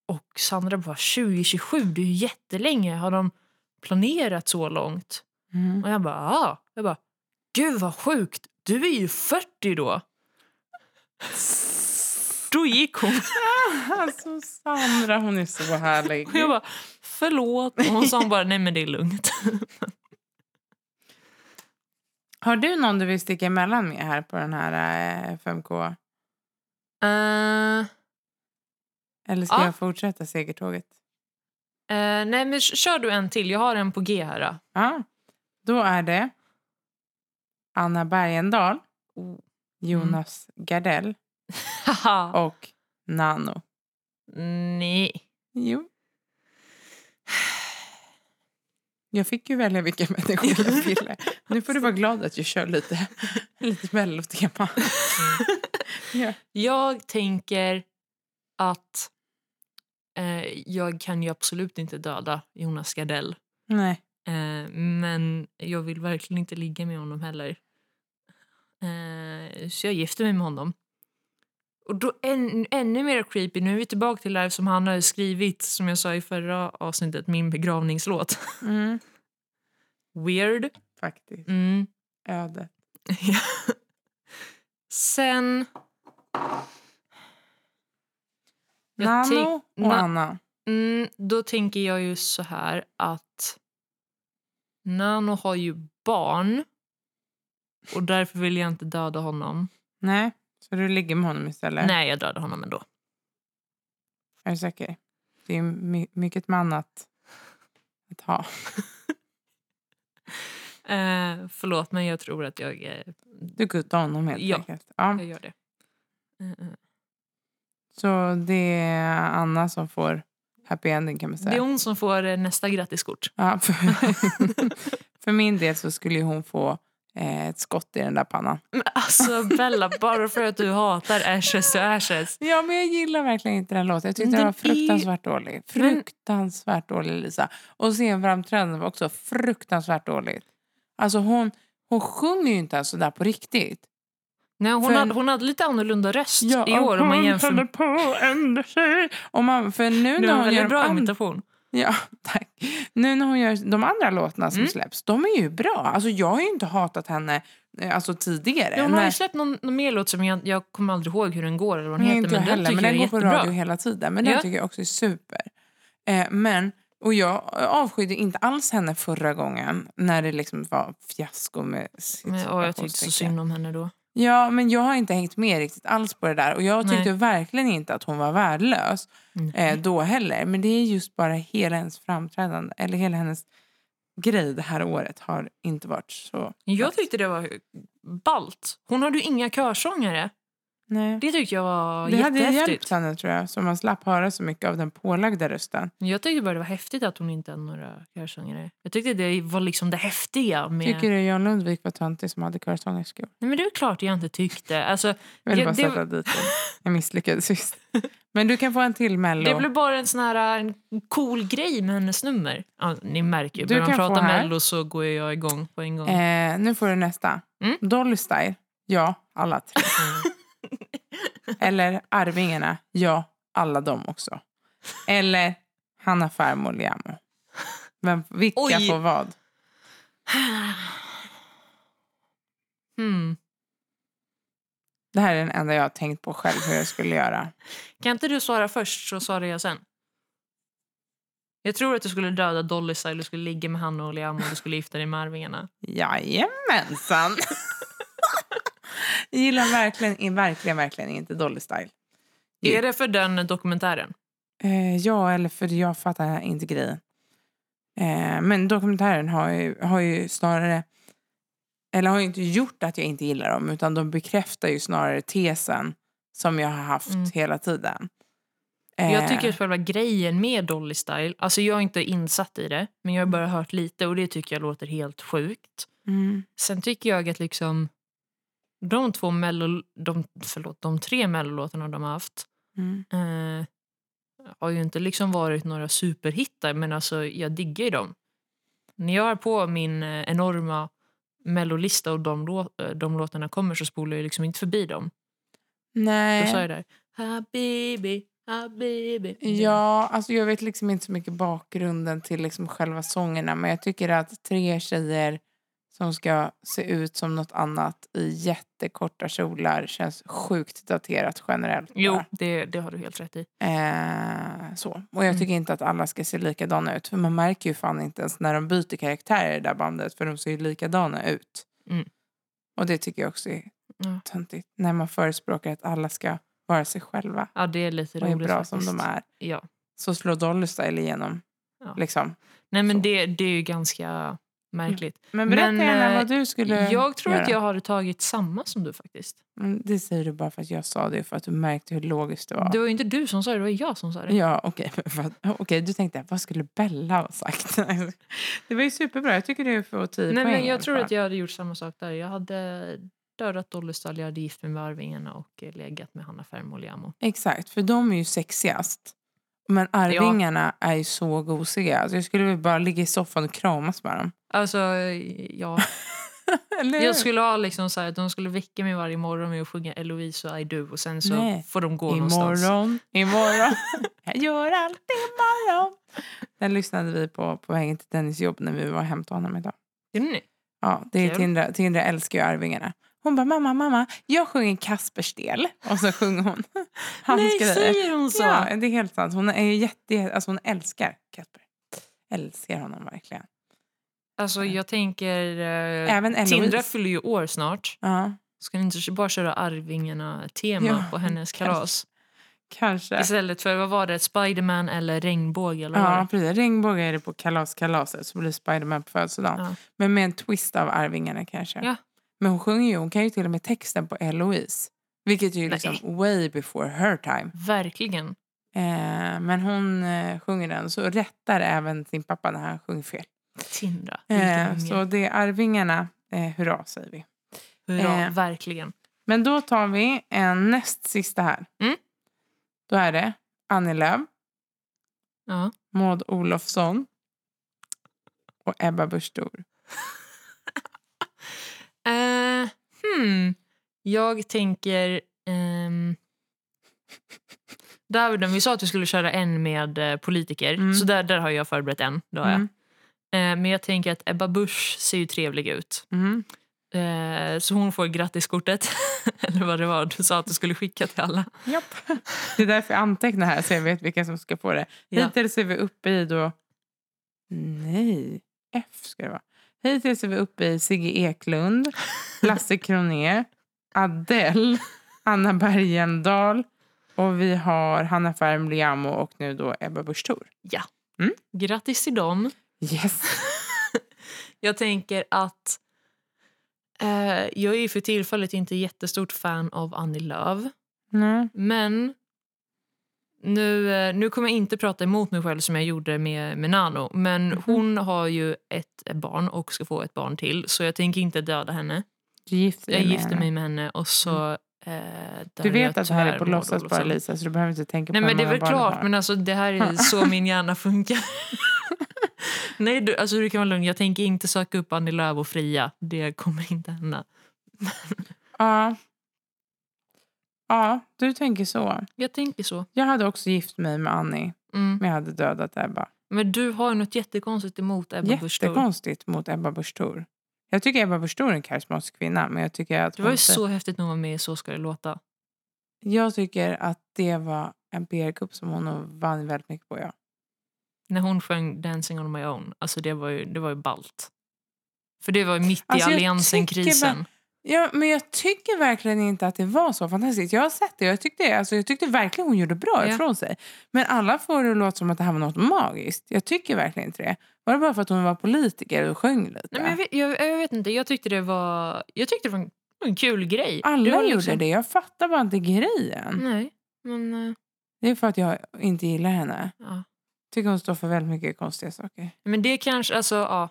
Speaker 2: och Sandra bara, 2027, det är ju jättelänge. Har de planerat så långt?
Speaker 1: Mm.
Speaker 2: Och jag bara, ja. Jag bara, gud vad sjukt, du är ju 40 då. Då gick hon.
Speaker 1: Alltså, Sandra, hon är så härlig.
Speaker 2: Och jag bara, förlåt. Och hon sa bara, nej men det är lugnt.
Speaker 1: Har du någon du vill sticka emellan med här på den här eh, 5K?
Speaker 2: Eh,
Speaker 1: Eller ska
Speaker 2: Ja.
Speaker 1: jag fortsätta segertåget?
Speaker 2: Eh, nej, men k- kör du en till. Jag har en på G här. Då.
Speaker 1: Ja. Då är det Anna Bergendahl,
Speaker 2: Oh.
Speaker 1: Jonas Gardell
Speaker 2: Haha.
Speaker 1: och Nano.
Speaker 2: Nej.
Speaker 1: Jo. Jag fick ju välja vilka människor jag ville. Nu får du vara glad att jag kör lite, lite
Speaker 2: Mm.
Speaker 1: mellotema. Ja.
Speaker 2: Jag tänker att eh, jag kan ju absolut inte döda Jonas Gardell.
Speaker 1: Nej.
Speaker 2: Eh, men jag vill verkligen inte ligga med honom heller. Eh, så jag gifter mig med honom. Och då än, ännu mer creepy, nu är vi tillbaka till det här som han har skrivit, som jag sa i förra avsnittet, min begravningslåt.
Speaker 1: Mm.
Speaker 2: Weird.
Speaker 1: Faktiskt.
Speaker 2: Mm.
Speaker 1: Ödet.
Speaker 2: Ja. Sen... Jag tänk-
Speaker 1: Nano och
Speaker 2: Na-
Speaker 1: Anna.
Speaker 2: Mm, då tänker jag ju så här att Nano har ju barn och därför vill jag inte döda honom.
Speaker 1: Nej, så du ligger med honom istället?
Speaker 2: Nej, jag dödar honom ändå.
Speaker 1: Är du säker? Det är my- mycket man att, att ha.
Speaker 2: Eh, förlåt, men jag tror att jag, eh,
Speaker 1: Du guttar honom helt
Speaker 2: Ja. Mm.
Speaker 1: enkelt. Ja.
Speaker 2: jag gör det. Eh, eh.
Speaker 1: Så det är Anna som får happy ending kan man säga.
Speaker 2: Det är hon som får eh, nästa grattiskort.
Speaker 1: Ja, för, för min del så skulle ju hon få eh, ett skott i den där pannan.
Speaker 2: Men alltså Bella, bara för att du hatar Ashes to Ashes.
Speaker 1: Ja, men jag gillar verkligen inte den låten. Jag tyckte
Speaker 2: Men
Speaker 1: den var
Speaker 2: det är ju-
Speaker 1: fruktansvärt dålig. Fruktansvärt dålig, Lisa. Och scenframträdandet var också fruktansvärt dåligt. Alltså hon, hon sjunger ju inte ens sådär på riktigt.
Speaker 2: Nej, hon,
Speaker 1: För-
Speaker 2: hade, hon hade lite annorlunda röst i år om man jämför
Speaker 1: håller
Speaker 2: med...
Speaker 1: på att ändra sig. Om man, för nu
Speaker 2: Det
Speaker 1: när
Speaker 2: var en
Speaker 1: hon gör de
Speaker 2: väldigt bra
Speaker 1: andra-
Speaker 2: imitation.
Speaker 1: Ja, tack. Nu när hon gör de andra låtarna som
Speaker 2: Mm.
Speaker 1: släpps, de är ju bra. Alltså jag har ju inte hatat henne eh, alltså, tidigare.
Speaker 2: Ja, hon har
Speaker 1: När-
Speaker 2: ju släppt någon, någon mer låt som jag, jag kommer aldrig ihåg hur den går eller vad den
Speaker 1: Nej,
Speaker 2: heter.
Speaker 1: inte jag
Speaker 2: Men den
Speaker 1: heller,
Speaker 2: tycker
Speaker 1: men
Speaker 2: jag
Speaker 1: den
Speaker 2: är
Speaker 1: går på
Speaker 2: jättebra.
Speaker 1: radio hela tiden. Men den
Speaker 2: Ja.
Speaker 1: tycker jag också är super. Eh, men, och jag avskydde inte alls henne förra gången när det liksom var fiasko med
Speaker 2: Men, åh, jag tyckte så
Speaker 1: situationstecken.
Speaker 2: synd om henne då.
Speaker 1: Ja, men jag har inte hängt med riktigt alls på det där. Och jag tyckte
Speaker 2: Nej.
Speaker 1: verkligen inte att hon var värdelös
Speaker 2: Mm.
Speaker 1: eh, då heller. Men det är just bara hela hennes framträdande, eller hela hennes grej det här året har inte varit så...
Speaker 2: Jag tyckte det var balt. Hon hade ju inga körsångare.
Speaker 1: Nej.
Speaker 2: Det tyckte jag var
Speaker 1: Det hade hjälpt
Speaker 2: jättehäftigt.
Speaker 1: henne tror jag, så man slapp höra så mycket av den pålagda rösten.
Speaker 2: Jag tyckte bara det var häftigt att hon inte hade några körsångare. Jag tyckte det var liksom det häftiga med...
Speaker 1: Tycker du Jan Lundvik var töntig som hade körsångerskor?
Speaker 2: Nej, men det är klart jag inte tyckte. Alltså,
Speaker 1: Jag ville
Speaker 2: Ja,
Speaker 1: bara
Speaker 2: det-
Speaker 1: sätta dit den. Jag misslyckades sist. Men du kan få en till
Speaker 2: det
Speaker 1: Mello.
Speaker 2: blev bara en sån här en cool grej med hennes nummer. Ja, ni märker ju,
Speaker 1: Du
Speaker 2: börjar man
Speaker 1: kan få
Speaker 2: prata
Speaker 1: här.
Speaker 2: Mello så går jag igång på en gång.
Speaker 1: Eh, nu får du nästa.
Speaker 2: Mm.
Speaker 1: Dolly Style. Ja, alla tre. Eller Arvingarna. Ja, alla de också. Eller Hanna Farmo Liamo. Vem, vilka
Speaker 2: Oj.
Speaker 1: får vad?
Speaker 2: Hmm.
Speaker 1: Det här är den enda jag har tänkt på själv hur jag skulle göra.
Speaker 2: Kan inte du svara först så svarar jag sen? Jag tror att du skulle döda Dolly Style, du skulle ligga med Hanna och Liam och du skulle gifta dig med Arvingarna.
Speaker 1: Jajamensan! jag gillar verkligen, verkligen, verkligen inte Dolly Style.
Speaker 2: Är det för den dokumentären?
Speaker 1: Eh, ja, eller för jag fattar inte grejen. Eh, men dokumentären har ju, har ju snarare... Eller har ju inte gjort att jag inte gillar dem utan de bekräftar ju snarare tesen som jag har haft
Speaker 2: Mm.
Speaker 1: hela tiden.
Speaker 2: Jag
Speaker 1: Eh.
Speaker 2: tycker att själva grejen med Dolly Style, alltså jag är inte insatt i det, men jag har bara hört lite och det tycker jag låter helt sjukt.
Speaker 1: Mm,
Speaker 2: Sen tycker jag att liksom de två mello, de, förlåt, de tre mellolåtarna de har haft
Speaker 1: mm.
Speaker 2: eh, har ju inte liksom varit några superhittar, men alltså jag diggar ju dem. När jag är på min eh, enorma mellolista och de, lå- eh, de låtarna kommer så spolar jag liksom inte förbi dem. Då
Speaker 1: Nej.
Speaker 2: sa jag där Habibi, Habibi.
Speaker 1: Ja, alltså jag vet liksom inte så mycket bakgrunden till liksom själva sångerna men jag tycker att tre tjejer som ska se ut som något annat i jättekorta kjolar känns sjukt daterat generellt.
Speaker 2: Jo,
Speaker 1: bara.
Speaker 2: det, det har du helt rätt i.
Speaker 1: Eh, så. Och jag
Speaker 2: Mm.
Speaker 1: tycker inte att alla ska se likadana ut för man märker ju fan inte ens när de byter karaktärer i det där bandet för de ser ju likadana ut.
Speaker 2: Mm.
Speaker 1: Och det tycker jag också är
Speaker 2: Ja.
Speaker 1: töntigt när man förespråkar att alla ska vara sig själva
Speaker 2: Ja, det är lite
Speaker 1: och är
Speaker 2: roligt
Speaker 1: bra
Speaker 2: faktiskt.
Speaker 1: som de är
Speaker 2: Ja.
Speaker 1: så slår Dolly Style igenom.
Speaker 2: Ja.
Speaker 1: Liksom.
Speaker 2: Nej,
Speaker 1: Så.
Speaker 2: men det, det är ju ganska märkligt.
Speaker 1: Men berätta
Speaker 2: Men,
Speaker 1: gärna
Speaker 2: eh,
Speaker 1: vad du skulle
Speaker 2: Jag tror
Speaker 1: göra.
Speaker 2: att jag hade tagit samma som du faktiskt.
Speaker 1: Mm, Det säger du bara för att jag sa det, för att du märkte hur logiskt det var.
Speaker 2: Det var ju inte du som sa det, det var jag som sa det.
Speaker 1: Ja, okej. men för att- Okej, du tänkte, vad skulle Bella ha sagt? det var ju superbra. Jag tycker du får 10
Speaker 2: Nej,
Speaker 1: poäng.
Speaker 2: men
Speaker 1: i alla
Speaker 2: jag tror
Speaker 1: fall.
Speaker 2: att jag hade gjort samma sak där. Jag hade dödat Dolly Stall, jag hade gift mig med Arvingarna och eh, legat med Hanna Fermo Liamo.
Speaker 1: Exakt, för de är ju sexigast. Men Arvingarna är ju så gosiga. Alltså, jag skulle väl bara ligga i soffan och kramas med dem.
Speaker 2: Alltså, eh, ja.
Speaker 1: Eller hur?
Speaker 2: Jag skulle ha liksom så här, att de skulle väcka mig varje morgon med att sjunga Eloise och I do och sen så
Speaker 1: Nej.
Speaker 2: får de gå någonstans.
Speaker 1: Imorgon, imorgon. Jag gör allt imorgon. Den lyssnade vi på på vägen till Dennis jobb när vi var och hämtade honom idag.
Speaker 2: Gjorde ni?
Speaker 1: Ja, det är
Speaker 2: Kul.
Speaker 1: Tindra, Tindra älskar ju Arvingarna. Hon bara, mamma, mamma, jag sjunger Kaspers del. Och så sjunger hon hans
Speaker 2: Nej,
Speaker 1: grejer.
Speaker 2: säger hon så?
Speaker 1: Ja, det är helt sant. Hon, är ju jätte, alltså hon älskar Kasper. Älskar honom verkligen.
Speaker 2: Alltså jag tänker... Eh,
Speaker 1: Även Eloise.
Speaker 2: Tindra fyller ju år snart.
Speaker 1: Ja,
Speaker 2: Ska ni inte bara köra Arvingarna-tema
Speaker 1: Ja,
Speaker 2: på hennes
Speaker 1: kanske.
Speaker 2: kalas?
Speaker 1: kanske.
Speaker 2: Istället för, vad var det, Spiderman eller regnbåge eller vad var
Speaker 1: Ja,
Speaker 2: det?
Speaker 1: precis. Regnbåge är det på kalaskalaset så blir Spiderman på födelsedagen.
Speaker 2: Ja.
Speaker 1: Men med en twist av Arvingarna kanske.
Speaker 2: Ja.
Speaker 1: Men hon sjunger ju, hon kan ju till och med texten på Eloise. Vilket ju är
Speaker 2: Nej.
Speaker 1: liksom way before her time.
Speaker 2: Verkligen.
Speaker 1: Eh, men hon eh, sjunger den så rättar även sin pappa när han sjunger fel.
Speaker 2: Tindra. vilken
Speaker 1: Eh,
Speaker 2: unge.
Speaker 1: så det är Arvingarna, eh, hurra säger vi.
Speaker 2: Hurra,
Speaker 1: eh.
Speaker 2: verkligen.
Speaker 1: Men då tar vi en näst sista här.
Speaker 2: Mm.
Speaker 1: Då är det Annie Lööf,
Speaker 2: Ja.
Speaker 1: Maud Olofsson och Ebba Busch Thor.
Speaker 2: Eh, hmm. Jag tänker... Um, Daviden, vi sa att vi skulle köra en med eh, politiker,
Speaker 1: Mm.
Speaker 2: så där, där har jag förberett en. Då har jag.
Speaker 1: Mm.
Speaker 2: Eh, men jag tänker att Ebba Busch ser ju trevlig ut.
Speaker 1: Mm.
Speaker 2: Eh, så hon får grattiskortet, eller vad det var du sa att du skulle skicka till alla.
Speaker 1: Japp. Det är därför jag antecknar här så jag vet vilka som ska få det.
Speaker 2: Ja.
Speaker 1: Hittills är vi uppe i då... Nej, F ska det vara. Hittills är vi uppe i Sigge Eklund, Lasse Kronér, Adele, Anna Bergendahl och vi har Hanna Ferm Liamo och nu då Ebba Busch Thor.
Speaker 2: Grattis till dem.
Speaker 1: Yes!
Speaker 2: Jag tänker att... Eh, jag är ju för tillfället inte jättestort fan av Annie Lööf.
Speaker 1: Nej.
Speaker 2: Men nu, eh, nu kommer jag inte prata emot mig själv som jag gjorde med, med Nano. Men
Speaker 1: Mhm.
Speaker 2: hon har ju ett barn och ska få ett barn till. Så jag tänker inte döda henne.
Speaker 1: Du gifter
Speaker 2: Jag
Speaker 1: dig med
Speaker 2: gifter
Speaker 1: henne.
Speaker 2: mig med henne och så... Eh,
Speaker 1: Mm. Du
Speaker 2: dödar
Speaker 1: vet
Speaker 2: jag
Speaker 1: att det här är
Speaker 2: tyvärr
Speaker 1: på
Speaker 2: Maud
Speaker 1: låtsas bara
Speaker 2: Olofsson.
Speaker 1: Lisa så du behöver inte tänka
Speaker 2: Nej
Speaker 1: på
Speaker 2: men det
Speaker 1: hur
Speaker 2: är
Speaker 1: många
Speaker 2: väl
Speaker 1: barn du
Speaker 2: klart
Speaker 1: har.
Speaker 2: men alltså det här är så min hjärna funkar. Nej du, alltså du kan vara lugn. Jag tänker inte söka upp Annie Lööf och Fria. Det kommer inte hända.
Speaker 1: Ja. ja, du tänker så.
Speaker 2: Jag tänker så.
Speaker 1: Jag hade också gift mig med Annie,
Speaker 2: Mm.
Speaker 1: men jag hade dödat Ebba.
Speaker 2: Men du har ju något jättekonstigt emot Ebba Busch Thor.
Speaker 1: Jättekonstigt mot Ebba Busch Thor. Jag tycker Ebba Busch Thor är en karismatisk kvinna, men jag tycker att
Speaker 2: Det var
Speaker 1: hon
Speaker 2: ju
Speaker 1: inte-
Speaker 2: så häftigt när hon var med i Så ska det låta.
Speaker 1: Jag tycker att det var en PR-kupp som hon nog vann väldigt mycket på. Ja.
Speaker 2: När hon sjöng Dancing on my own. Alltså det var ju, det var ju ballt. För det var ju mitt i
Speaker 1: Alltså, jag
Speaker 2: alliansen-krisen.
Speaker 1: Ja, men jag tycker verkligen inte att det var så fantastiskt. Jag har sett det och jag tyckte, alltså, jag tyckte verkligen hon gjorde bra
Speaker 2: Ja.
Speaker 1: ifrån sig. Men alla får det att låta som att det här var något magiskt. Jag tycker verkligen inte det. Var det bara för att hon var politiker och sjöng lite?
Speaker 2: Nej, men jag, vet, jag, jag vet inte, jag tyckte det var, jag tyckte det var en, en kul grej.
Speaker 1: Alla
Speaker 2: det var liksom-
Speaker 1: gjorde det. Jag fattar bara inte grejen.
Speaker 2: Nej, men eh,
Speaker 1: Det är för att jag inte gillar henne.
Speaker 2: ja.
Speaker 1: Tycker hon står för väldigt mycket konstiga saker.
Speaker 2: Men det kanske, alltså ja.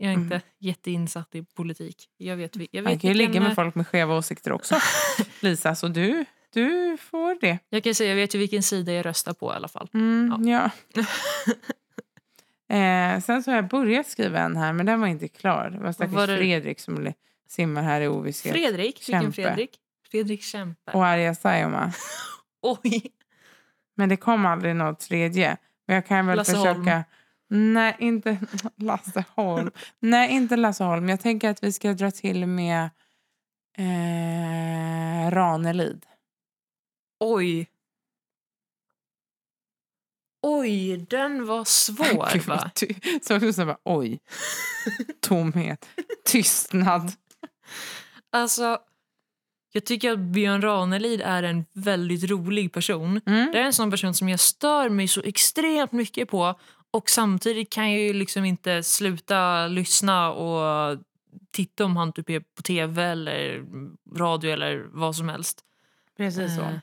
Speaker 2: Jag är inte
Speaker 1: Mm.
Speaker 2: jätteinsatt i politik. Jag vet, vi- jag
Speaker 1: Man
Speaker 2: vet
Speaker 1: kan ju
Speaker 2: vilken,
Speaker 1: ligga med
Speaker 2: eh,
Speaker 1: folk med skeva åsikter också. Lisa, så du, du får det.
Speaker 2: Jag kan säga, jag vet ju vilken sida jag röstar på i alla fall.
Speaker 1: Mm, ja. eh, sen så har jag börjat skriva en här, men den var inte klar. Det var stackars
Speaker 2: Var det-
Speaker 1: Fredrik som li- simmar här i ovisshet.
Speaker 2: Fredrik, vilken
Speaker 1: Kämpe.
Speaker 2: Fredrik? Fredrik Kämpe.
Speaker 1: Och Arja Saijonmaa.
Speaker 2: Oj!
Speaker 1: Men det kom aldrig något tredje. Men jag kan väl
Speaker 2: Lasse
Speaker 1: försöka...
Speaker 2: Holm.
Speaker 1: Nej, inte Lasse Holm. Nej, inte Lasse Holm. Jag tänker att vi ska dra till med eh, Ranelid.
Speaker 2: Oj. Oj, den var
Speaker 1: Gud,
Speaker 2: svår
Speaker 1: vad
Speaker 2: va?
Speaker 1: ty- Såg du så bara, oj. Tomhet. Tystnad.
Speaker 2: Alltså, jag tycker att Björn Ranelid är en väldigt rolig person.
Speaker 1: Mm.
Speaker 2: Det är en sån person som jag stör mig så extremt mycket på och samtidigt kan jag ju liksom inte sluta lyssna och titta om han typ är på tv eller radio eller vad som helst.
Speaker 1: Precis så.
Speaker 2: Eh,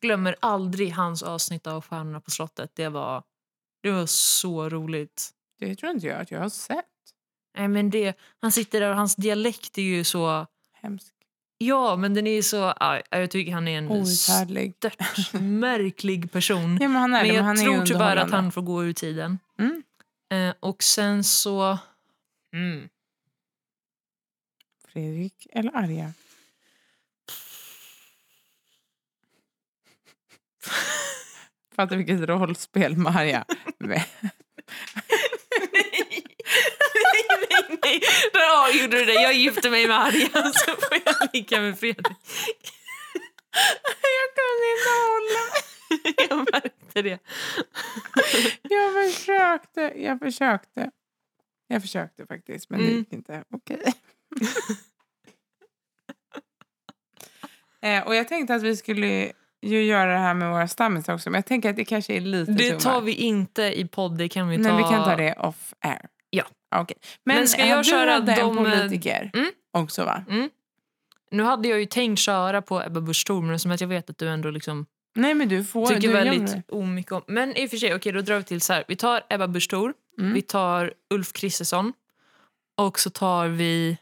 Speaker 2: glömmer aldrig hans avsnitt av Stjärnorna på slottet. Det var, det var så roligt.
Speaker 1: Det tror inte jag att jag har sett.
Speaker 2: Nej, men det, han sitter där och hans dialekt är ju så...
Speaker 1: Hemskt.
Speaker 2: Ja, men den är ju så... aj, jag tycker han är en
Speaker 1: Outhärdlig.
Speaker 2: störtmärklig person.
Speaker 1: Ja, men han är
Speaker 2: men
Speaker 1: det,
Speaker 2: jag
Speaker 1: men han är
Speaker 2: tror
Speaker 1: ju
Speaker 2: tyvärr att
Speaker 1: underhållande.
Speaker 2: han får gå ur tiden.
Speaker 1: Mm.
Speaker 2: Eh, och sen så... Mm.
Speaker 1: Fredrik eller Arja? Fattar vilket rollspel med Arja.
Speaker 2: nej, nej, nej! Där har jag gjorde det. där. Jag gifte mig med Arjan så får jag ligga med Fredrik.
Speaker 1: Jag kunde inte hålla mig.
Speaker 2: Jag märkte det.
Speaker 1: Jag försökte, jag försökte. Jag försökte faktiskt, men det
Speaker 2: Mm.
Speaker 1: gick inte. Okej. eh, och jag tänkte att vi skulle ju göra det här med våra stammisar också, men jag tänker att det kanske är lite
Speaker 2: Det tar
Speaker 1: tummar.
Speaker 2: vi inte i podd. Det kan vi ta.
Speaker 1: Men vi kan ta det off air.
Speaker 2: Ja.
Speaker 1: Okej. Men,
Speaker 2: Men ska
Speaker 1: eh,
Speaker 2: jag
Speaker 1: du
Speaker 2: köra
Speaker 1: hade en
Speaker 2: de, eh,
Speaker 1: politiker
Speaker 2: mm?
Speaker 1: också, va?
Speaker 2: Nu hade jag ju tänkt köra på Ebba Busch Thor, men som att jag vet att du ändå liksom
Speaker 1: Nej, men du får.
Speaker 2: tycker
Speaker 1: du gör det.
Speaker 2: väldigt omycket om. Men i och för sig, okej, då drar vi till så här. Vi tar Ebba Busch Thor,
Speaker 1: Mm.
Speaker 2: vi tar Ulf Kristersson och så tar vi...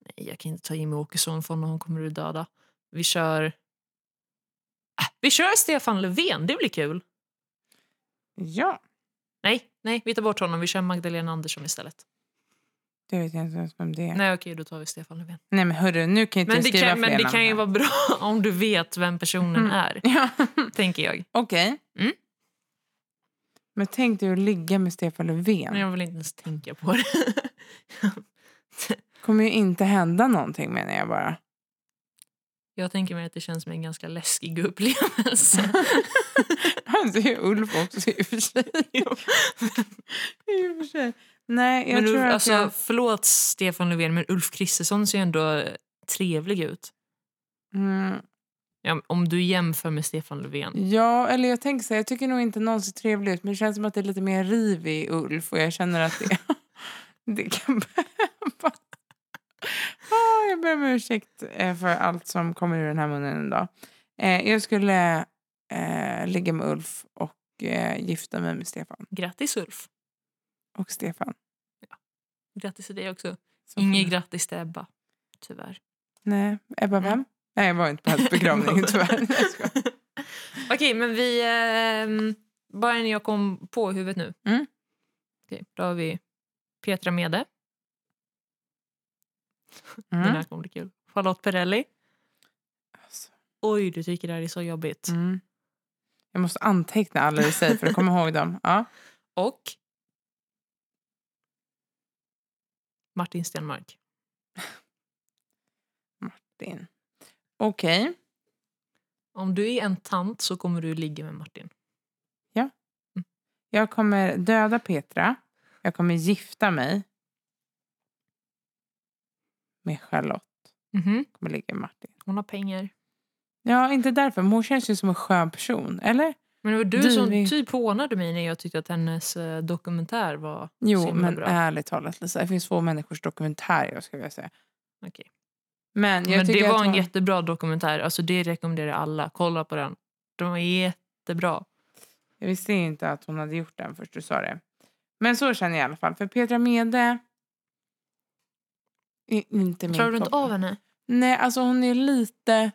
Speaker 2: Nej, jag kan inte ta Jimmy Åkesson för honom kommer du döda. Vi kör... Ah, Vi kör Stefan Löfven, det blir kul.
Speaker 1: Ja.
Speaker 2: Nej, nej, vi tar bort honom. Vi kör Magdalena Andersson istället.
Speaker 1: Det vet jag inte ens vem det är. Nej,
Speaker 2: Nej, okej, då tar vi Stefan Löfven.
Speaker 1: men hörru, nu kan ju inte
Speaker 2: Men
Speaker 1: jag
Speaker 2: det,
Speaker 1: skriva
Speaker 2: kan,
Speaker 1: fler
Speaker 2: men det
Speaker 1: namn
Speaker 2: kan ju
Speaker 1: här.
Speaker 2: vara bra om du vet vem personen
Speaker 1: Mm.
Speaker 2: är,
Speaker 1: Ja,
Speaker 2: tänker jag.
Speaker 1: okej.
Speaker 2: Mm.
Speaker 1: Men tänk dig att ligga med Stefan Löfven.
Speaker 2: Men jag vill inte ens tänka på det.
Speaker 1: kommer ju inte hända någonting menar jag bara.
Speaker 2: Jag tänker mig att det känns som en ganska läskig upplevelse.
Speaker 1: Han ser ju Alltså, Ulf också i och för sig. I och för sig. Nej, jag
Speaker 2: men
Speaker 1: tror
Speaker 2: Ulf,
Speaker 1: att
Speaker 2: alltså,
Speaker 1: jag...
Speaker 2: Förlåt Stefan Löfven, men Ulf Kristersson ser ju ändå trevlig ut.
Speaker 1: Mm,
Speaker 2: Ja, om du jämför med Stefan Löfven.
Speaker 1: ja, eller jag tänker så här, jag tycker nog inte någon ser trevlig ut men det känns som att det är lite mer riv i Ulf och jag känner att det, det kan behövas. Ah, jag ber om ursäkt eh, för allt som kommer ur den här munnen idag. Eh, jag skulle eh, ligga med Ulf och eh, gifta mig med Stefan.
Speaker 2: Grattis Ulf.
Speaker 1: Och Stefan.
Speaker 2: Grattis till dig också.
Speaker 1: Så får
Speaker 2: Inget
Speaker 1: ni-
Speaker 2: grattis till Ebba. Tyvärr.
Speaker 1: Nej, Ebba
Speaker 2: Mm.
Speaker 1: vem? Nej, jag var inte på hennes begravning tyvärr. Jag skojar.
Speaker 2: Okej, men vi... ehm, bara när jag kom på i huvudet nu.
Speaker 1: Mm.
Speaker 2: Okej, då har vi Petra Mede. Den
Speaker 1: Mm.
Speaker 2: här kommer bli kul. Charlotte Perrelli.
Speaker 1: Alltså,
Speaker 2: Oj, du tycker det här är så jobbigt.
Speaker 1: Mm. Jag måste anteckna alla du säger för att komma ihåg dem. Ja.
Speaker 2: Och... Martin Stenmark.
Speaker 1: Din. Okej.
Speaker 2: Om du är en tant så kommer du ligga med Martin.
Speaker 1: Jag kommer döda Petra. Jag kommer gifta mig med Charlotte.
Speaker 2: Mhm.
Speaker 1: Jag kommer ligga med Martin.
Speaker 2: Hon har pengar.
Speaker 1: Ja, inte därför. Men hon känns ju som en skön person. Eller?
Speaker 2: Men det var du,
Speaker 1: Du
Speaker 2: som
Speaker 1: vill-
Speaker 2: typ hånade mig när jag tyckte att hennes eh, dokumentär var så
Speaker 1: Jo,
Speaker 2: himla
Speaker 1: men
Speaker 2: bra.
Speaker 1: ärligt talat, Lisa. Det finns få människors dokumentärer jag skulle vilja säga.
Speaker 2: Okej.
Speaker 1: Men, jag
Speaker 2: Men
Speaker 1: tycker
Speaker 2: det var
Speaker 1: att
Speaker 2: en
Speaker 1: hon...
Speaker 2: jättebra dokumentär. Alltså det rekommenderar jag alla. Kolla på den. Den var jättebra.
Speaker 1: Jag visste ju inte att hon hade gjort den först du sa det. Men så känner jag i alla fall. För Petra Mede... är Inte min
Speaker 2: Klarar du inte
Speaker 1: topp.
Speaker 2: av henne?
Speaker 1: Nej, alltså hon är lite...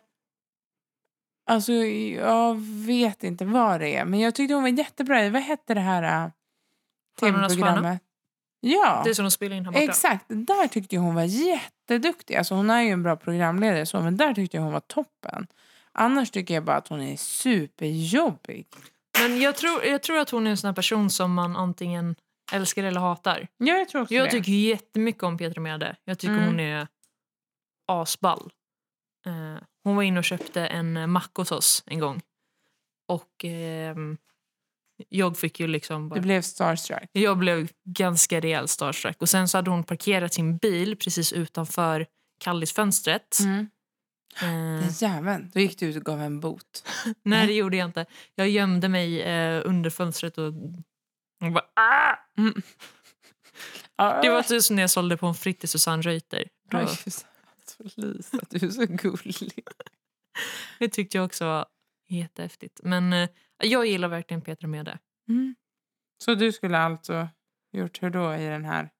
Speaker 1: Alltså jag vet inte vad det är. Men jag tyckte hon var jättebra i... Vad hette det här äh,
Speaker 2: Stjärnornas stjärna.
Speaker 1: tv-programmet? Ja,
Speaker 2: Det är som de spelar in här borta.
Speaker 1: exakt. Där tyckte jag hon var jätteduktig. Alltså hon är ju en bra programledare så, men där tyckte jag hon var toppen. Annars tycker jag bara att hon är superjobbig.
Speaker 2: Men jag tror, jag tror att hon är en sån här person som man antingen älskar eller hatar.
Speaker 1: Ja, jag tror också
Speaker 2: Jag
Speaker 1: det.
Speaker 2: tycker jättemycket om Petra Mede. Jag tycker
Speaker 1: Mm.
Speaker 2: hon är asball. Eh, hon var inne och köpte en eh, macka hos oss en gång. Och ehm, jag fick ju liksom bara...
Speaker 1: Det blev starstruck.
Speaker 2: Jag blev ganska rejäl starstruck. Och sen så hade hon parkerat sin bil precis utanför Kallis fönstret.
Speaker 1: Mm.
Speaker 2: Eh,
Speaker 1: Den jäveln. Då gick du ut och gav en bot.
Speaker 2: nej, det gjorde jag inte. Jag gömde mig eh, under fönstret och... och bara, ah!
Speaker 1: Mm.
Speaker 2: Det var typ som när jag sålde på en fritt till Susanne Reuter. Då,
Speaker 1: Oj, så- alltså, Lisa, du är så gullig.
Speaker 2: det tyckte jag också var jättehäftigt. Men eh, jag gillar verkligen Petra Mede.
Speaker 1: Mm. Så du skulle alltså gjort hur då i den här?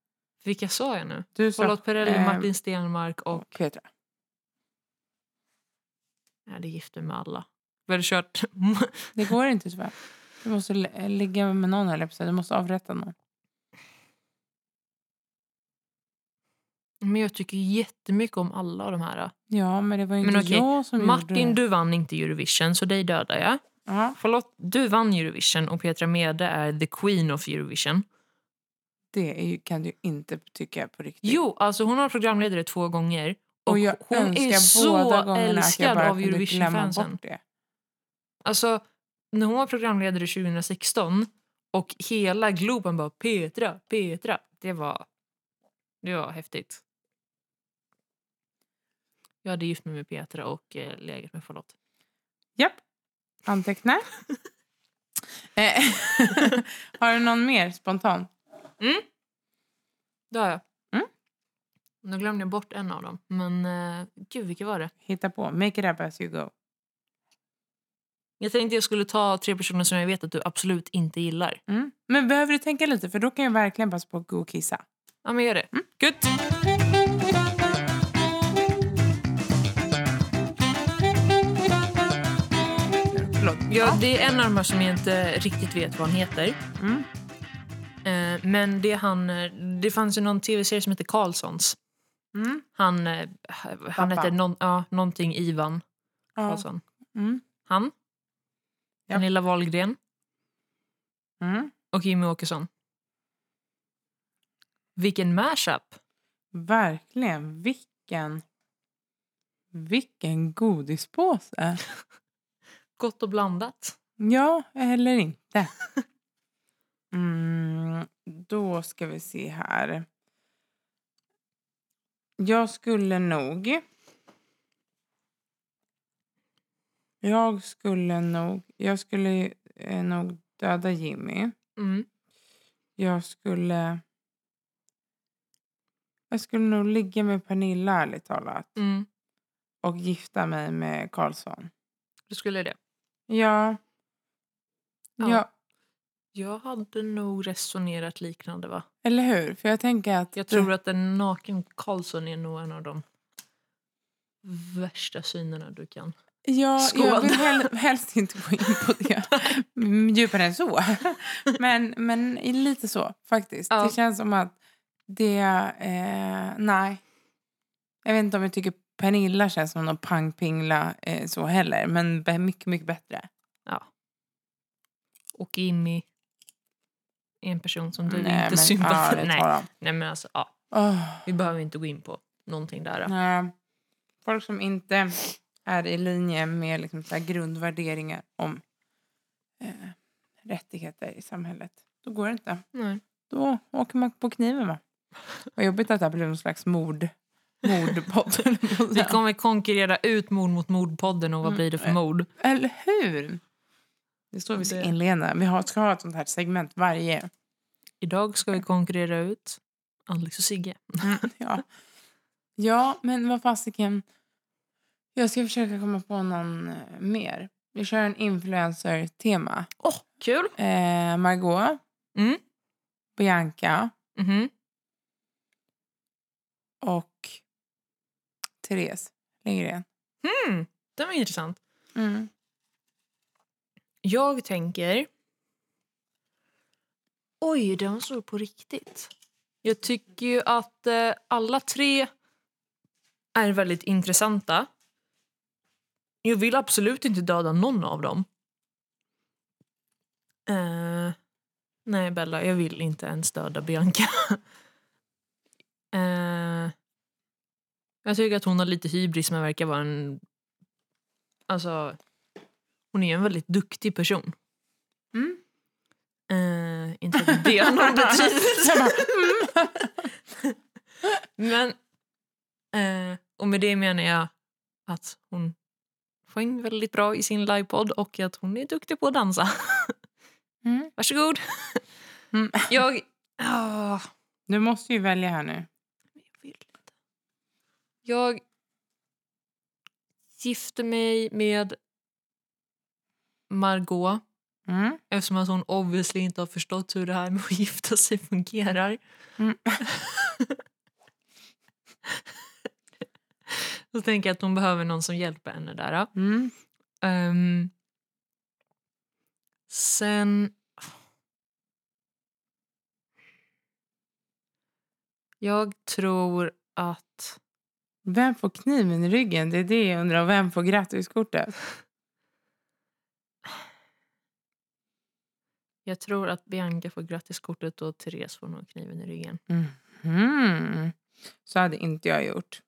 Speaker 2: Vilka sa jag nu?
Speaker 1: Du sa
Speaker 2: Charlotte Perrelli,
Speaker 1: ehm,
Speaker 2: Martin Stenmark och...
Speaker 1: och Petra.
Speaker 2: Jag hade gift mig med alla. Vi hade kört...
Speaker 1: Det går inte tyvärr. Du måste li- ligga med någon eller så. Du måste avrätta någon.
Speaker 2: Men jag tycker jättemycket om alla de här.
Speaker 1: Ja, men det var ju inte
Speaker 2: Men okej,
Speaker 1: jag som
Speaker 2: Martin,
Speaker 1: gjorde det.
Speaker 2: du vann inte Eurovision, så dig dödar jag.
Speaker 1: Ja.
Speaker 2: Charlotte, du vann Eurovision och Petra Mede är the queen of Eurovision.
Speaker 1: Det är ju, kan du inte tycka på riktigt.
Speaker 2: Jo, alltså hon har varit programledare två gånger. Och,
Speaker 1: och jag
Speaker 2: hon
Speaker 1: önskar
Speaker 2: är
Speaker 1: båda
Speaker 2: så
Speaker 1: gångerna att jag
Speaker 2: älskad
Speaker 1: bara
Speaker 2: av
Speaker 1: kunde glömma
Speaker 2: Eurovision-fansen.
Speaker 1: bort det.
Speaker 2: Alltså, när hon var programledare 2016 och hela Globen bara Petra, Petra. Det var, det var häftigt. Jag hade gift mig med Petra och eh, legat med Charlotte.
Speaker 1: Japp. Anteckna. Eh, har du någon mer spontan?
Speaker 2: Det har jag.
Speaker 1: Mm.
Speaker 2: Nu glömde jag bort en av dem. Men eh, gud, vilken var det?
Speaker 1: Hitta på. Make it up as you go.
Speaker 2: Jag tänkte jag skulle ta tre personer som jag vet att du absolut inte gillar.
Speaker 1: Mm. Men behöver du tänka lite? För då kan jag verkligen passa på att gå och kissa.
Speaker 2: Ja, men gör det. Mm. Gött!
Speaker 1: Förlåt.
Speaker 2: Ja, det är en av de här som jag inte riktigt vet vad han heter.
Speaker 1: Mm.
Speaker 2: Eh, men det, är han, eh, det fanns ju någon tv-serie som hette Karlssons.
Speaker 1: Mm.
Speaker 2: Han, eh, han
Speaker 1: Pappa.
Speaker 2: hette någon, ja, någonting Ivan
Speaker 1: Ja.
Speaker 2: Karlsson.
Speaker 1: Mm.
Speaker 2: Han,
Speaker 1: Ja.
Speaker 2: Pernilla Wahlgren
Speaker 1: Mm.
Speaker 2: och Jimmy Åkesson. Vilken mashup!
Speaker 1: Verkligen. Vilken... Vilken godispåse.
Speaker 2: Gott och blandat.
Speaker 1: Ja, eller inte. Mm, då ska vi se här. Jag skulle nog... Jag skulle nog... Jag skulle eh, nog döda Jimmy.
Speaker 2: Mm.
Speaker 1: Jag skulle... Jag skulle nog ligga med Pernilla, ärligt talat.
Speaker 2: Mm.
Speaker 1: Och gifta mig med Karlsson.
Speaker 2: Du skulle det.
Speaker 1: Ja.
Speaker 2: Ja.
Speaker 1: ja.
Speaker 2: Jag hade nog resonerat liknande, va?
Speaker 1: Eller hur? För jag tänker att...
Speaker 2: Jag
Speaker 1: det-
Speaker 2: tror att en naken Karlsson är nog en av de värsta synerna du kan.
Speaker 1: Ja, jag
Speaker 2: Skål.
Speaker 1: vill hel, helst inte gå in på det Mm, djupare än så. Men, men i lite så, faktiskt.
Speaker 2: Ja.
Speaker 1: Det känns som att det... Eh, nej. Jag vet inte om jag tycker Pernilla känns som någon pangpingla eh, så heller. Men be- mycket, mycket bättre.
Speaker 2: Och Jimmy är en person som
Speaker 1: nej,
Speaker 2: du inte
Speaker 1: Mm, eh, ja,
Speaker 2: sympatiserar
Speaker 1: det
Speaker 2: Nej.
Speaker 1: tar de.
Speaker 2: Nej, men alltså, ja,
Speaker 1: Åh,
Speaker 2: vi behöver inte gå in på någonting där. då.
Speaker 1: nej. Eh, Folk som inte är i linje med liksom så här grundvärderingar om eh, rättigheter i samhället. Då går det inte.
Speaker 2: Nej.
Speaker 1: då åker man på kniven va? Vad jobbigt att det här blev någon slags mord, mordpodd. höll jag på att
Speaker 2: Vi
Speaker 1: säga.
Speaker 2: kommer konkurrera ut Mord mot mord-podden och vad
Speaker 1: Mm.
Speaker 2: blir det för
Speaker 1: Nej.
Speaker 2: mord?
Speaker 1: Eller hur? Det står vi ska
Speaker 2: Det-
Speaker 1: inleda. Vi har, ska ha ett sånt här segment varje.
Speaker 2: Idag ska vi konkurrera ut Alex och Sigge.
Speaker 1: Ja, ja men vad fasiken. Jag ska försöka komma på någon eh, mer. Vi kör en influencer-tema.
Speaker 2: Åh, kul!
Speaker 1: Eh, Margot,
Speaker 2: Mm.
Speaker 1: Bianca
Speaker 2: Mhm.
Speaker 1: och Therese Lindgren.
Speaker 2: Mm. Det var intressant.
Speaker 1: Mm.
Speaker 2: Jag tänker... Oj, den var svår på riktigt. Jag tycker ju att eh, alla tre är väldigt intressanta. Jag vill absolut inte döda någon av dem. Eh, nej, Bella, jag vill inte ens döda Bianca. eh, jag tycker att hon har lite hybris, men verkar vara en... Alltså, hon är en väldigt duktig person.
Speaker 1: Mm.
Speaker 2: Eh, inte Mm. att det har någon
Speaker 1: Jag
Speaker 2: betydelse.
Speaker 1: bara,
Speaker 2: Men, eh, och med det menar jag att hon sjöng väldigt bra i sin livepodd och att hon är duktig på att dansa.
Speaker 1: Mm.
Speaker 2: Varsågod.
Speaker 1: Mm.
Speaker 2: Jag... ah,
Speaker 1: Du måste ju välja här nu.
Speaker 2: men jag vill inte. Jag gifte mig med Margot
Speaker 1: Mm.
Speaker 2: eftersom att hon obviously inte har förstått hur det här med att gifta sig fungerar.
Speaker 1: Mm.
Speaker 2: Så tänker jag att hon behöver någon som hjälper henne där. Då.
Speaker 1: Mm.
Speaker 2: Ehm, sen... Jag tror att...
Speaker 1: Vem får kniven i ryggen? Det är det jag undrar. Och vem får grattiskortet?
Speaker 2: Jag tror att Bianca får grattiskortet och Therese får nog kniven i ryggen.
Speaker 1: Mhm. Så hade inte jag gjort.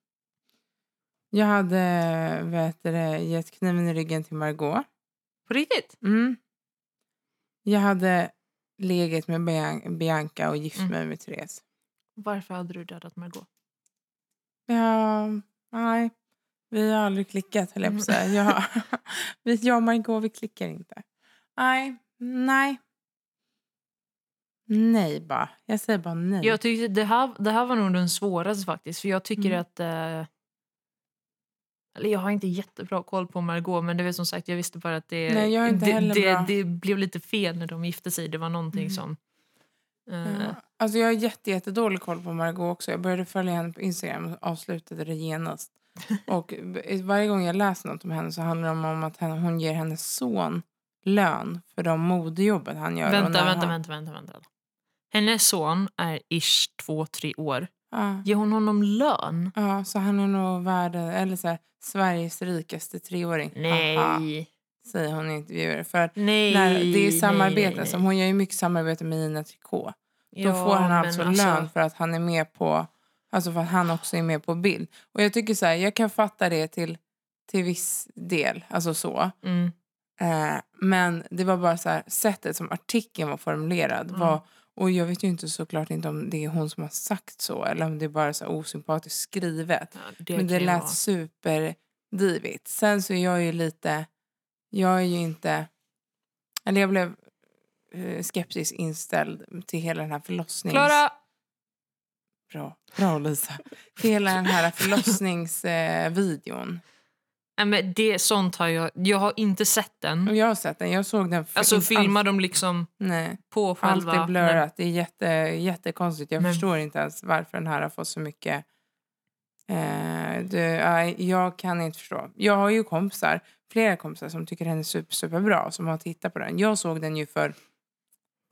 Speaker 1: Jag hade vet du, det, gett kniven i ryggen till Margot.
Speaker 2: På riktigt?
Speaker 1: Mm. Jag hade legat med Bian- Bianca och gift
Speaker 2: Mm.
Speaker 1: mig med Therese.
Speaker 2: Varför hade du dödat Margot?
Speaker 1: Ja, nej. Vi har aldrig klickat, höll jag på att säga. Jag, vi- jag och Margot, vi klickar inte. Nej, nej. Nej bara. Jag säger bara nej.
Speaker 2: Jag tyckte det här, det här var nog den svåraste faktiskt. För jag tycker
Speaker 1: Mm.
Speaker 2: att... Eh, eller jag har inte jättebra koll på Margot men det var som sagt jag visste bara att det,
Speaker 1: Nej, jag är inte
Speaker 2: det,
Speaker 1: heller
Speaker 2: det,
Speaker 1: bra.
Speaker 2: det blev lite fel när de gifte sig. Det var någonting
Speaker 1: Mm.
Speaker 2: som... Eh,
Speaker 1: Ja. Alltså jag har jätte, jättedålig koll på Margot också. Jag började följa henne på Instagram och avslutade det genast. Och b- varje gång jag läser något om henne så handlar det om- om att henne, hon ger hennes son lön för de modejobbet han gör. och
Speaker 2: Vänta,
Speaker 1: när
Speaker 2: vänta,
Speaker 1: han,
Speaker 2: vänta, vänta, vänta. Hennes son är ish två, tre år.
Speaker 1: Ja,
Speaker 2: Ger hon honom lön?
Speaker 1: ja, så han är nog världen, eller så här, Sveriges rikaste treåring.
Speaker 2: Nej.
Speaker 1: Haha, säger hon i intervjuer. För att
Speaker 2: Nej.
Speaker 1: när det är samarbete,
Speaker 2: nej, nej.
Speaker 1: som hon gör ju mycket samarbete med Ina Tricot. Då
Speaker 2: Ja,
Speaker 1: får han
Speaker 2: men
Speaker 1: alltså, lön för att han är med på Alltså för att han också är med på bild. Och jag tycker så här, jag kan fatta det till, till viss del, alltså så.
Speaker 2: Mm.
Speaker 1: Eh, men det var bara så här, sättet som artikeln var formulerad
Speaker 2: Mm.
Speaker 1: var... Och jag vet ju inte såklart inte om det är hon som har sagt så eller om det är bara så här osympatiskt skrivet.
Speaker 2: Ja, det
Speaker 1: men det
Speaker 2: kan ju vara.
Speaker 1: lät superdivigt. Sen så är jag ju lite... Jag är ju inte... Eller jag blev eh, skeptiskt inställd till hela den här förlossnings...
Speaker 2: Klara!
Speaker 1: Bra, bra Lisa. Till hela den här eh, förlossningsvideon.
Speaker 2: Nej, men det, sånt har jag... Jag har inte sett
Speaker 1: Och
Speaker 2: den.
Speaker 1: jag har sett den. Jag såg den för
Speaker 2: Alltså
Speaker 1: inte
Speaker 2: filmar
Speaker 1: alls-
Speaker 2: de liksom
Speaker 1: Nej,
Speaker 2: på
Speaker 1: allt
Speaker 2: själva...
Speaker 1: är blurrat. Det är jätte, jättekonstigt. Jag
Speaker 2: Men-
Speaker 1: förstår inte ens varför den här har fått så mycket... Eh, det, nej, jag kan inte förstå. Jag har ju kompisar, flera kompisar som tycker den är super, superbra som har tittat på den. Jag såg den ju för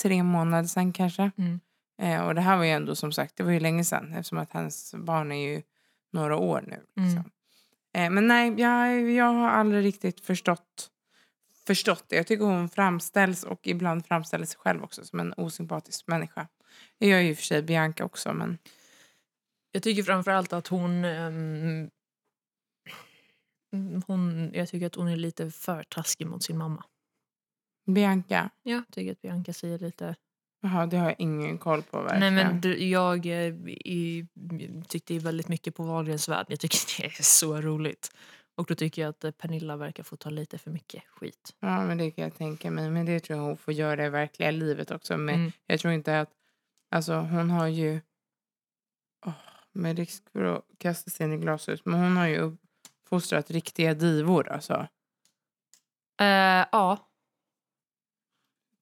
Speaker 1: tre månader sedan kanske.
Speaker 2: Mm.
Speaker 1: Eh, och det här var ju ändå som sagt, det var ju länge sedan eftersom att hans barn är ju några år nu. Liksom.
Speaker 2: Mm.
Speaker 1: Eh, men nej, jag, jag har aldrig riktigt förstått, förstått det. Jag tycker hon framställs och ibland framställer sig själv också som en osympatisk människa. Det gör ju i och för sig Bianca också men
Speaker 2: Jag tycker framförallt att hon... ehm, mm, hon... Jag tycker att hon är lite för taskig mot sin mamma.
Speaker 1: Bianca,
Speaker 2: Jag tycker att Bianca säger lite...
Speaker 1: jaha, det har jag ingen koll på
Speaker 2: Nej,
Speaker 1: verkligen.
Speaker 2: men du, jag eh, i, tyckte ju väldigt mycket på Wahlgrens värld. Jag tycker det är så roligt. Och då tycker jag att eh, Pernilla verkar få ta lite för mycket skit.
Speaker 1: Ja men det kan jag tänka mig. Men det tror jag hon får göra i verkliga livet också. Men
Speaker 2: Mm.
Speaker 1: jag tror inte att, alltså hon har ju, åh, med risk för att kasta sig in i glashus, men hon har ju uppfostrat riktiga divor alltså.
Speaker 2: Eh, ja.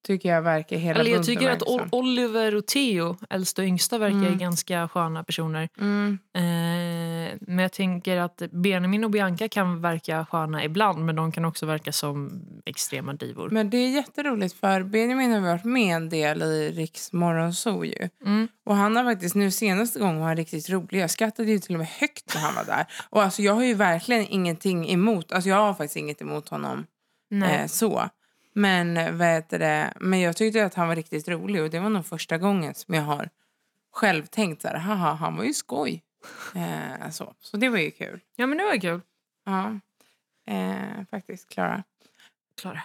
Speaker 1: Tycker jag verkar hela
Speaker 2: Eller jag
Speaker 1: bunten
Speaker 2: tycker att
Speaker 1: verkar
Speaker 2: O-
Speaker 1: som.
Speaker 2: Oliver och Theo, äldsta och yngsta, verkar
Speaker 1: Mm.
Speaker 2: ganska sköna personer.
Speaker 1: Mm,
Speaker 2: Eh, men jag tänker att Benjamin och Bianca kan verka sköna ibland men de kan också verka som extrema divor.
Speaker 1: men det är jätteroligt för Benjamin har varit med en del i Riks morgonzoo ju.
Speaker 2: Mm.
Speaker 1: Och han har faktiskt nu senaste gången var han riktigt rolig. Jag skrattade ju till och med högt när han var där. Och alltså jag har ju verkligen ingenting emot, alltså jag har faktiskt inget emot honom
Speaker 2: Nej.
Speaker 1: Eh, så. Men, eh, vad heter det? men jag tyckte att han var riktigt rolig och det var nog första gången som jag har själv tänkt så här, haha, han var ju skoj. Eh, så. så det var ju kul.
Speaker 2: Ja men det var kul.
Speaker 1: Ja, eh, faktiskt, Klara.
Speaker 2: Klara.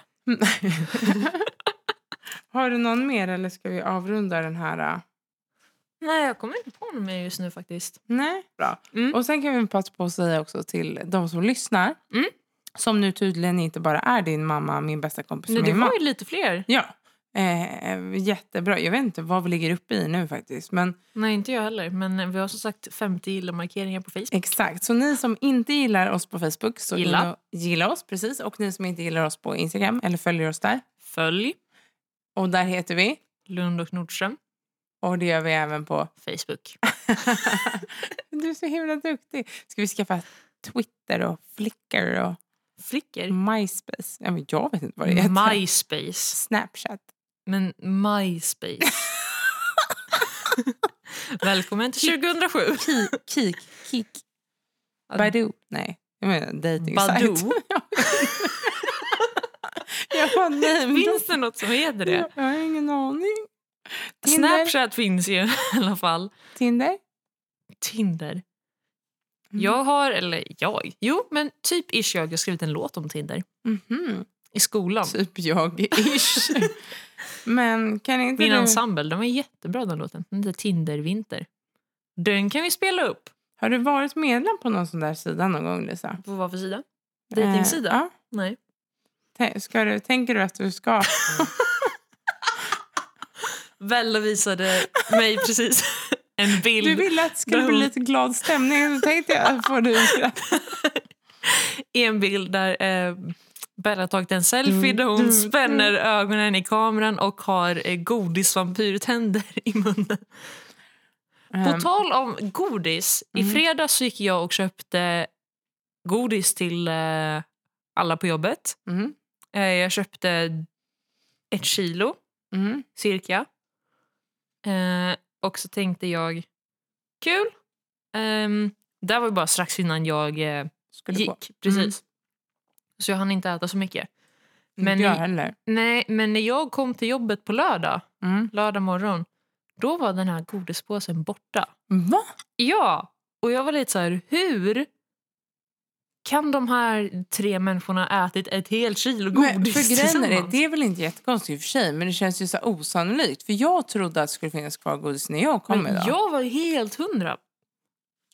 Speaker 1: har du någon mer eller ska vi avrunda den här? eh?
Speaker 2: Nej jag kommer inte på någon mer just nu faktiskt.
Speaker 1: Nej, bra.
Speaker 2: Mm.
Speaker 1: Och sen kan vi passa på att säga också till de som lyssnar,
Speaker 2: Mm.
Speaker 1: som nu tydligen inte bara är din mamma, min bästa kompis och
Speaker 2: Nej, det
Speaker 1: min mamma.
Speaker 2: var ju lite fler.
Speaker 1: Ja, eh, jättebra. Jag vet inte vad vi ligger uppe i nu faktiskt. Men
Speaker 2: Nej inte jag heller men vi har som sagt 50 gilla-markeringar på Facebook.
Speaker 1: exakt, så ni som inte gillar oss på Facebook så
Speaker 2: Gilla.
Speaker 1: in och gilla oss precis. Och ni som inte gillar oss på Instagram eller följer oss där.
Speaker 2: Följ
Speaker 1: Och där heter vi.
Speaker 2: Lund och Nordström
Speaker 1: Och det gör vi även på...
Speaker 2: Facebook.
Speaker 1: du är så himla duktig. Ska vi skaffa Twitter och Flickr och
Speaker 2: Flickor.
Speaker 1: MySpace? Ja, men jag vet inte vad det heter.
Speaker 2: MySpace.
Speaker 1: Snapchat.
Speaker 2: Men MySpace. Välkommen till 2007.
Speaker 1: Kik. Kik. Kik. Badoo. Nej, jag menar dejtingsajt.
Speaker 2: Badoo.
Speaker 1: Jag bara, nej. men
Speaker 2: Finns det något som heter
Speaker 1: då-
Speaker 2: det?
Speaker 1: Jag har ingen aning. Tinder.
Speaker 2: Snapchat finns ju i alla fall.
Speaker 1: Tinder?
Speaker 2: Tinder. Jag har, eller jag, jo men typ ish jag har skrivit en låt om Tinder.
Speaker 1: Mhm.
Speaker 2: I skolan.
Speaker 1: Typ jag-ish. Men kan inte
Speaker 2: Min
Speaker 1: du...
Speaker 2: ensemble, de är jättebra den låten. Den heter Tindervinter. Den kan vi spela upp.
Speaker 1: Har du varit medlem på någon sån där sida någon gång, Lisa?
Speaker 2: På vad för sida?
Speaker 1: Eh,
Speaker 2: Dejtingsida?
Speaker 1: ja.
Speaker 2: Nej.
Speaker 1: Tä- Ska du, tänker du att du ska?
Speaker 2: Bella visade mig precis en Mm. bild.
Speaker 1: Du ville att det skulle bli lite glad stämning. Så tänkte jag, får du skratta?
Speaker 2: i en bild där eh, Bella har tagit en selfie där hon
Speaker 1: Mm.
Speaker 2: spänner ögonen i kameran och har eh, godisvampyrtänder i munnen.
Speaker 1: Ehm,
Speaker 2: På tal om godis, i
Speaker 1: Mm.
Speaker 2: fredags så gick jag och köpte godis till eh, alla på jobbet.
Speaker 1: Mm,
Speaker 2: Eh, jag köpte ett kilo
Speaker 1: mm,
Speaker 2: cirka. Eh, och så tänkte jag, kul. Ehm, det här var ju bara strax innan jag eh,
Speaker 1: skulle Mm. gå.
Speaker 2: gick. Precis. Så jag hann inte äta så mycket.
Speaker 1: Men
Speaker 2: Men
Speaker 1: inte jag
Speaker 2: i-
Speaker 1: heller.
Speaker 2: Nej, men när jag kom till jobbet på lördag,
Speaker 1: Mm.
Speaker 2: lördag morgon, då var den här godispåsen borta.
Speaker 1: Va?
Speaker 2: Ja, och jag var lite så här, hur kan de här tre människorna ha ätit ett helt kilo godis
Speaker 1: Men för grejen är det,
Speaker 2: tillsammans?
Speaker 1: det är väl inte jättekonstigt i och för sig, men det känns ju så här osannolikt. För jag trodde att det skulle finnas kvar godis när jag kom
Speaker 2: Men
Speaker 1: idag.
Speaker 2: jag var helt hundra.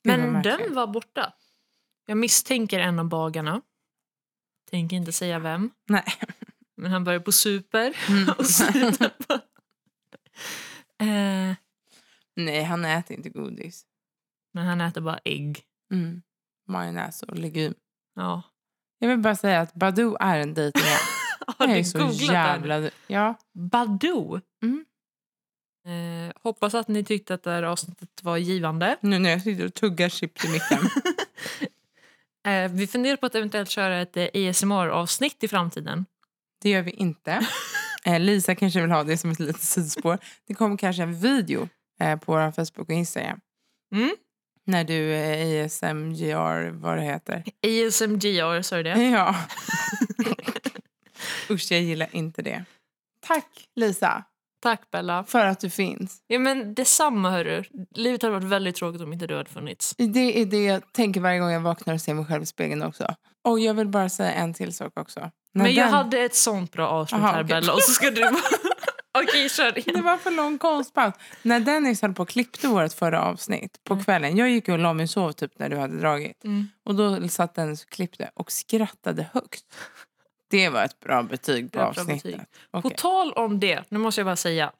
Speaker 1: Det var
Speaker 2: Men den
Speaker 1: märkligt.
Speaker 2: var borta. Jag misstänker en av bagarna. Tänker inte säga vem.
Speaker 1: Nej.
Speaker 2: Men han började på super
Speaker 1: Mm.
Speaker 2: och slutade på... Eh,
Speaker 1: Nej, han äter inte godis.
Speaker 2: men han äter bara ägg.
Speaker 1: Mm. Majonnäs och legum.
Speaker 2: Ja.
Speaker 1: Jag vill bara säga att Badoo är en dejting.
Speaker 2: Har
Speaker 1: Jag
Speaker 2: du
Speaker 1: är så
Speaker 2: googlat jävla...
Speaker 1: jävla... Ja.
Speaker 2: Badoo.
Speaker 1: Mm.
Speaker 2: Eh, hoppas att ni tyckte att det här avsnittet var givande.
Speaker 1: Nu när jag sitter och tuggar chips i micken.
Speaker 2: Eh, vi funderar på att eventuellt köra ett eh, ASMR-avsnitt i framtiden.
Speaker 1: Det gör vi inte. Eh, Lisa kanske vill ha det som ett litet sidospår. Det kommer kanske en video eh, på vår Facebook och Instagram.
Speaker 2: Mm.
Speaker 1: När du eh, ASMGR, vad det heter.
Speaker 2: ASMGR, sa du det?
Speaker 1: Ja. Usch, jag gillar inte det. Tack Lisa
Speaker 2: Tack, Bella.
Speaker 1: för att du finns.
Speaker 2: Ja, men detsamma, hörru. Livet hade varit väldigt tråkigt om inte du hade funnits.
Speaker 1: Det är det jag tänker varje gång jag vaknar och ser mig själv i spegeln också. Och jag vill bara säga en till sak också. När
Speaker 2: men jag
Speaker 1: den-
Speaker 2: hade ett sånt bra avslut
Speaker 1: Aha,
Speaker 2: här,
Speaker 1: okej.
Speaker 2: Bella. Och så ska du bara... Okej, kör
Speaker 1: Det
Speaker 2: igen.
Speaker 1: var för lång konstpaus. När Dennis höll på och klippte vårt förra avsnitt på kvällen. Jag gick och la mig och sov typ när du hade dragit.
Speaker 2: Mm.
Speaker 1: Och då satt Dennis och klippte och skrattade högt. Det var ett bra betyg på
Speaker 2: Det var ett bra
Speaker 1: avsnittet.
Speaker 2: betyg. På
Speaker 1: Okej.
Speaker 2: tal om det, nu måste jag bara säga.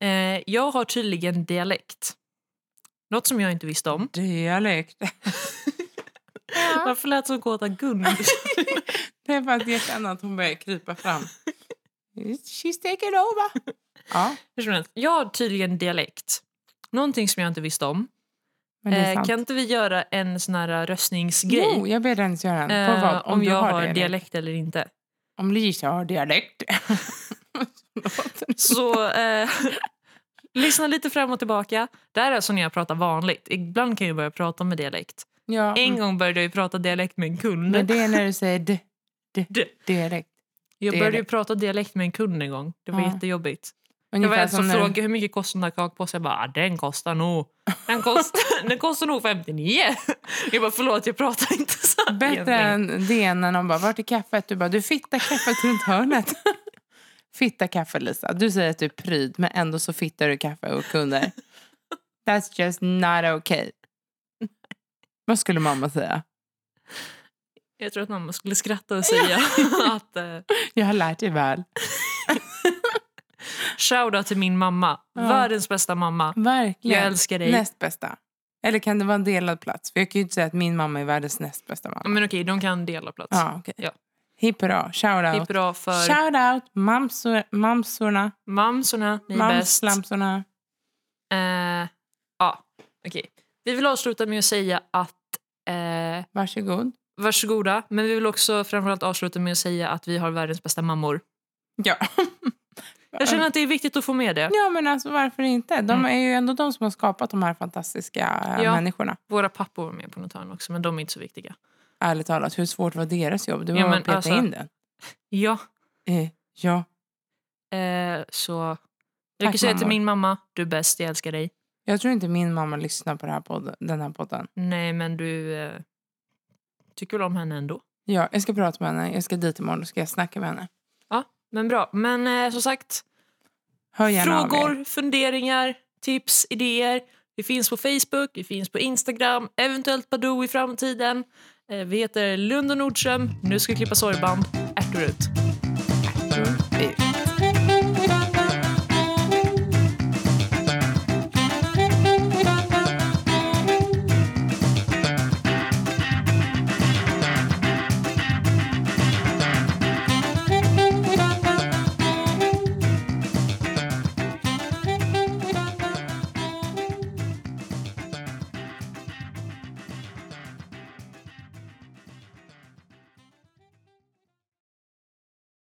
Speaker 2: Eh, jag har tydligen dialekt. Något som jag inte visste om.
Speaker 1: Dialekt. ja.
Speaker 2: Varför lät som Kåta Gun?
Speaker 1: Det är för att jag känner att hon börjar krypa fram. She's taking over. Ja,
Speaker 2: Hur som helst, jag har tydligen dialekt. Någonting som jag inte visste om.
Speaker 1: men det är
Speaker 2: Eh,
Speaker 1: sant.
Speaker 2: kan inte vi göra en sån här eh, röstningsgrej?
Speaker 1: Jo, jag ber Dennis göra en. På
Speaker 2: Eh,
Speaker 1: vad?
Speaker 2: om, jag har dialekt.
Speaker 1: dialekt.
Speaker 2: eller inte.
Speaker 1: Om Lisa har dialekt. Låter det som-
Speaker 2: Så eh, lyssna lite fram och tillbaka. Det här är alltså när jag pratar vanligt. Ibland kan jag börja prata med dialekt.
Speaker 1: ja,
Speaker 2: En gång började jag ju prata dialekt med en kund.
Speaker 1: men det är när du säger d, d,
Speaker 2: D.
Speaker 1: dialekt.
Speaker 2: jag
Speaker 1: dialekt.
Speaker 2: började ju prata dialekt med en kund en gång. Det var
Speaker 1: Ja.
Speaker 2: jättejobbigt. Jag var alltså
Speaker 1: Ungefär
Speaker 2: en
Speaker 1: som
Speaker 2: som
Speaker 1: när du-
Speaker 2: frågade hur mycket kostar den där kakpåsen. Jag bara, "Ah, den kostar nog. Den kostar, den kostar nog 59. Jag bara, förlåt jag pratar inte så. här
Speaker 1: Bättre
Speaker 2: egentligen."
Speaker 1: än det än när någon bara, vart är kaffet? Du bara, du fittar kaffet runt hörnet. fitta kaffe, Lisa. Du säger att du är pryd, men ändå så fittar du kaffe och kunder. That's just not okay. Vad skulle mamma säga?
Speaker 2: Jag tror att mamma skulle skratta och säga att eh,
Speaker 1: Jag har lärt dig väl.
Speaker 2: shoutout till min mamma.
Speaker 1: Ja.
Speaker 2: Världens bästa mamma.
Speaker 1: Verkligen.
Speaker 2: Jag älskar dig.
Speaker 1: Näst bästa. Eller kan det vara en delad plats? För jag kan ju inte säga att min mamma är världens näst bästa
Speaker 2: Ja,
Speaker 1: mamma.
Speaker 2: Men okej, de kan dela plats.
Speaker 1: Ja, okej.
Speaker 2: Ja.
Speaker 1: Hipp hurra. Shout
Speaker 2: Det är
Speaker 1: out.
Speaker 2: bra för
Speaker 1: Shout out mamsor, mamsorna.
Speaker 2: mamsorna, ni är bäst.
Speaker 1: Mamslamsorna.
Speaker 2: Eh, ja, okej. Vi vill avsluta med att säga att eh,
Speaker 1: Varsågod.
Speaker 2: varsågoda. Men vi vill också framförallt avsluta med att säga att vi har världens bästa mammor.
Speaker 1: Ja.
Speaker 2: Jag känner att det är viktigt att få med det.
Speaker 1: Ja, men alltså varför inte? De
Speaker 2: Mm.
Speaker 1: är ju ändå de som har skapat de här fantastiska eh,
Speaker 2: Ja.
Speaker 1: människorna.
Speaker 2: Våra pappor var med på något hörn också, men de är inte så viktiga.
Speaker 1: Ärligt talat, hur svårt var deras jobb? Det var
Speaker 2: Ja,
Speaker 1: bara
Speaker 2: men
Speaker 1: att peta
Speaker 2: alltså-
Speaker 1: in den.
Speaker 2: Ja,
Speaker 1: Eh, ja,
Speaker 2: Eh, så jag
Speaker 1: Tack,
Speaker 2: kan säga till
Speaker 1: mammor.
Speaker 2: min mamma, du är bäst, jag älskar dig.
Speaker 1: jag tror inte min mamma lyssnar på det här podden, den här podden.
Speaker 2: Nej, men du eh, tycker väl om henne ändå.
Speaker 1: Ja, jag ska prata med henne. Jag ska dit imorgon och ska jag snacka med henne.
Speaker 2: Ja, men bra. Men eh, som sagt,
Speaker 1: Hör gärna av er.
Speaker 2: frågor, funderingar, tips, idéer. Vi finns på Facebook, vi finns på Instagram, eventuellt Badoo i framtiden. Eh, vi heter Lund och Nordström. Nu ska vi klippa sorgband. Ärtor ut.
Speaker 1: Tror-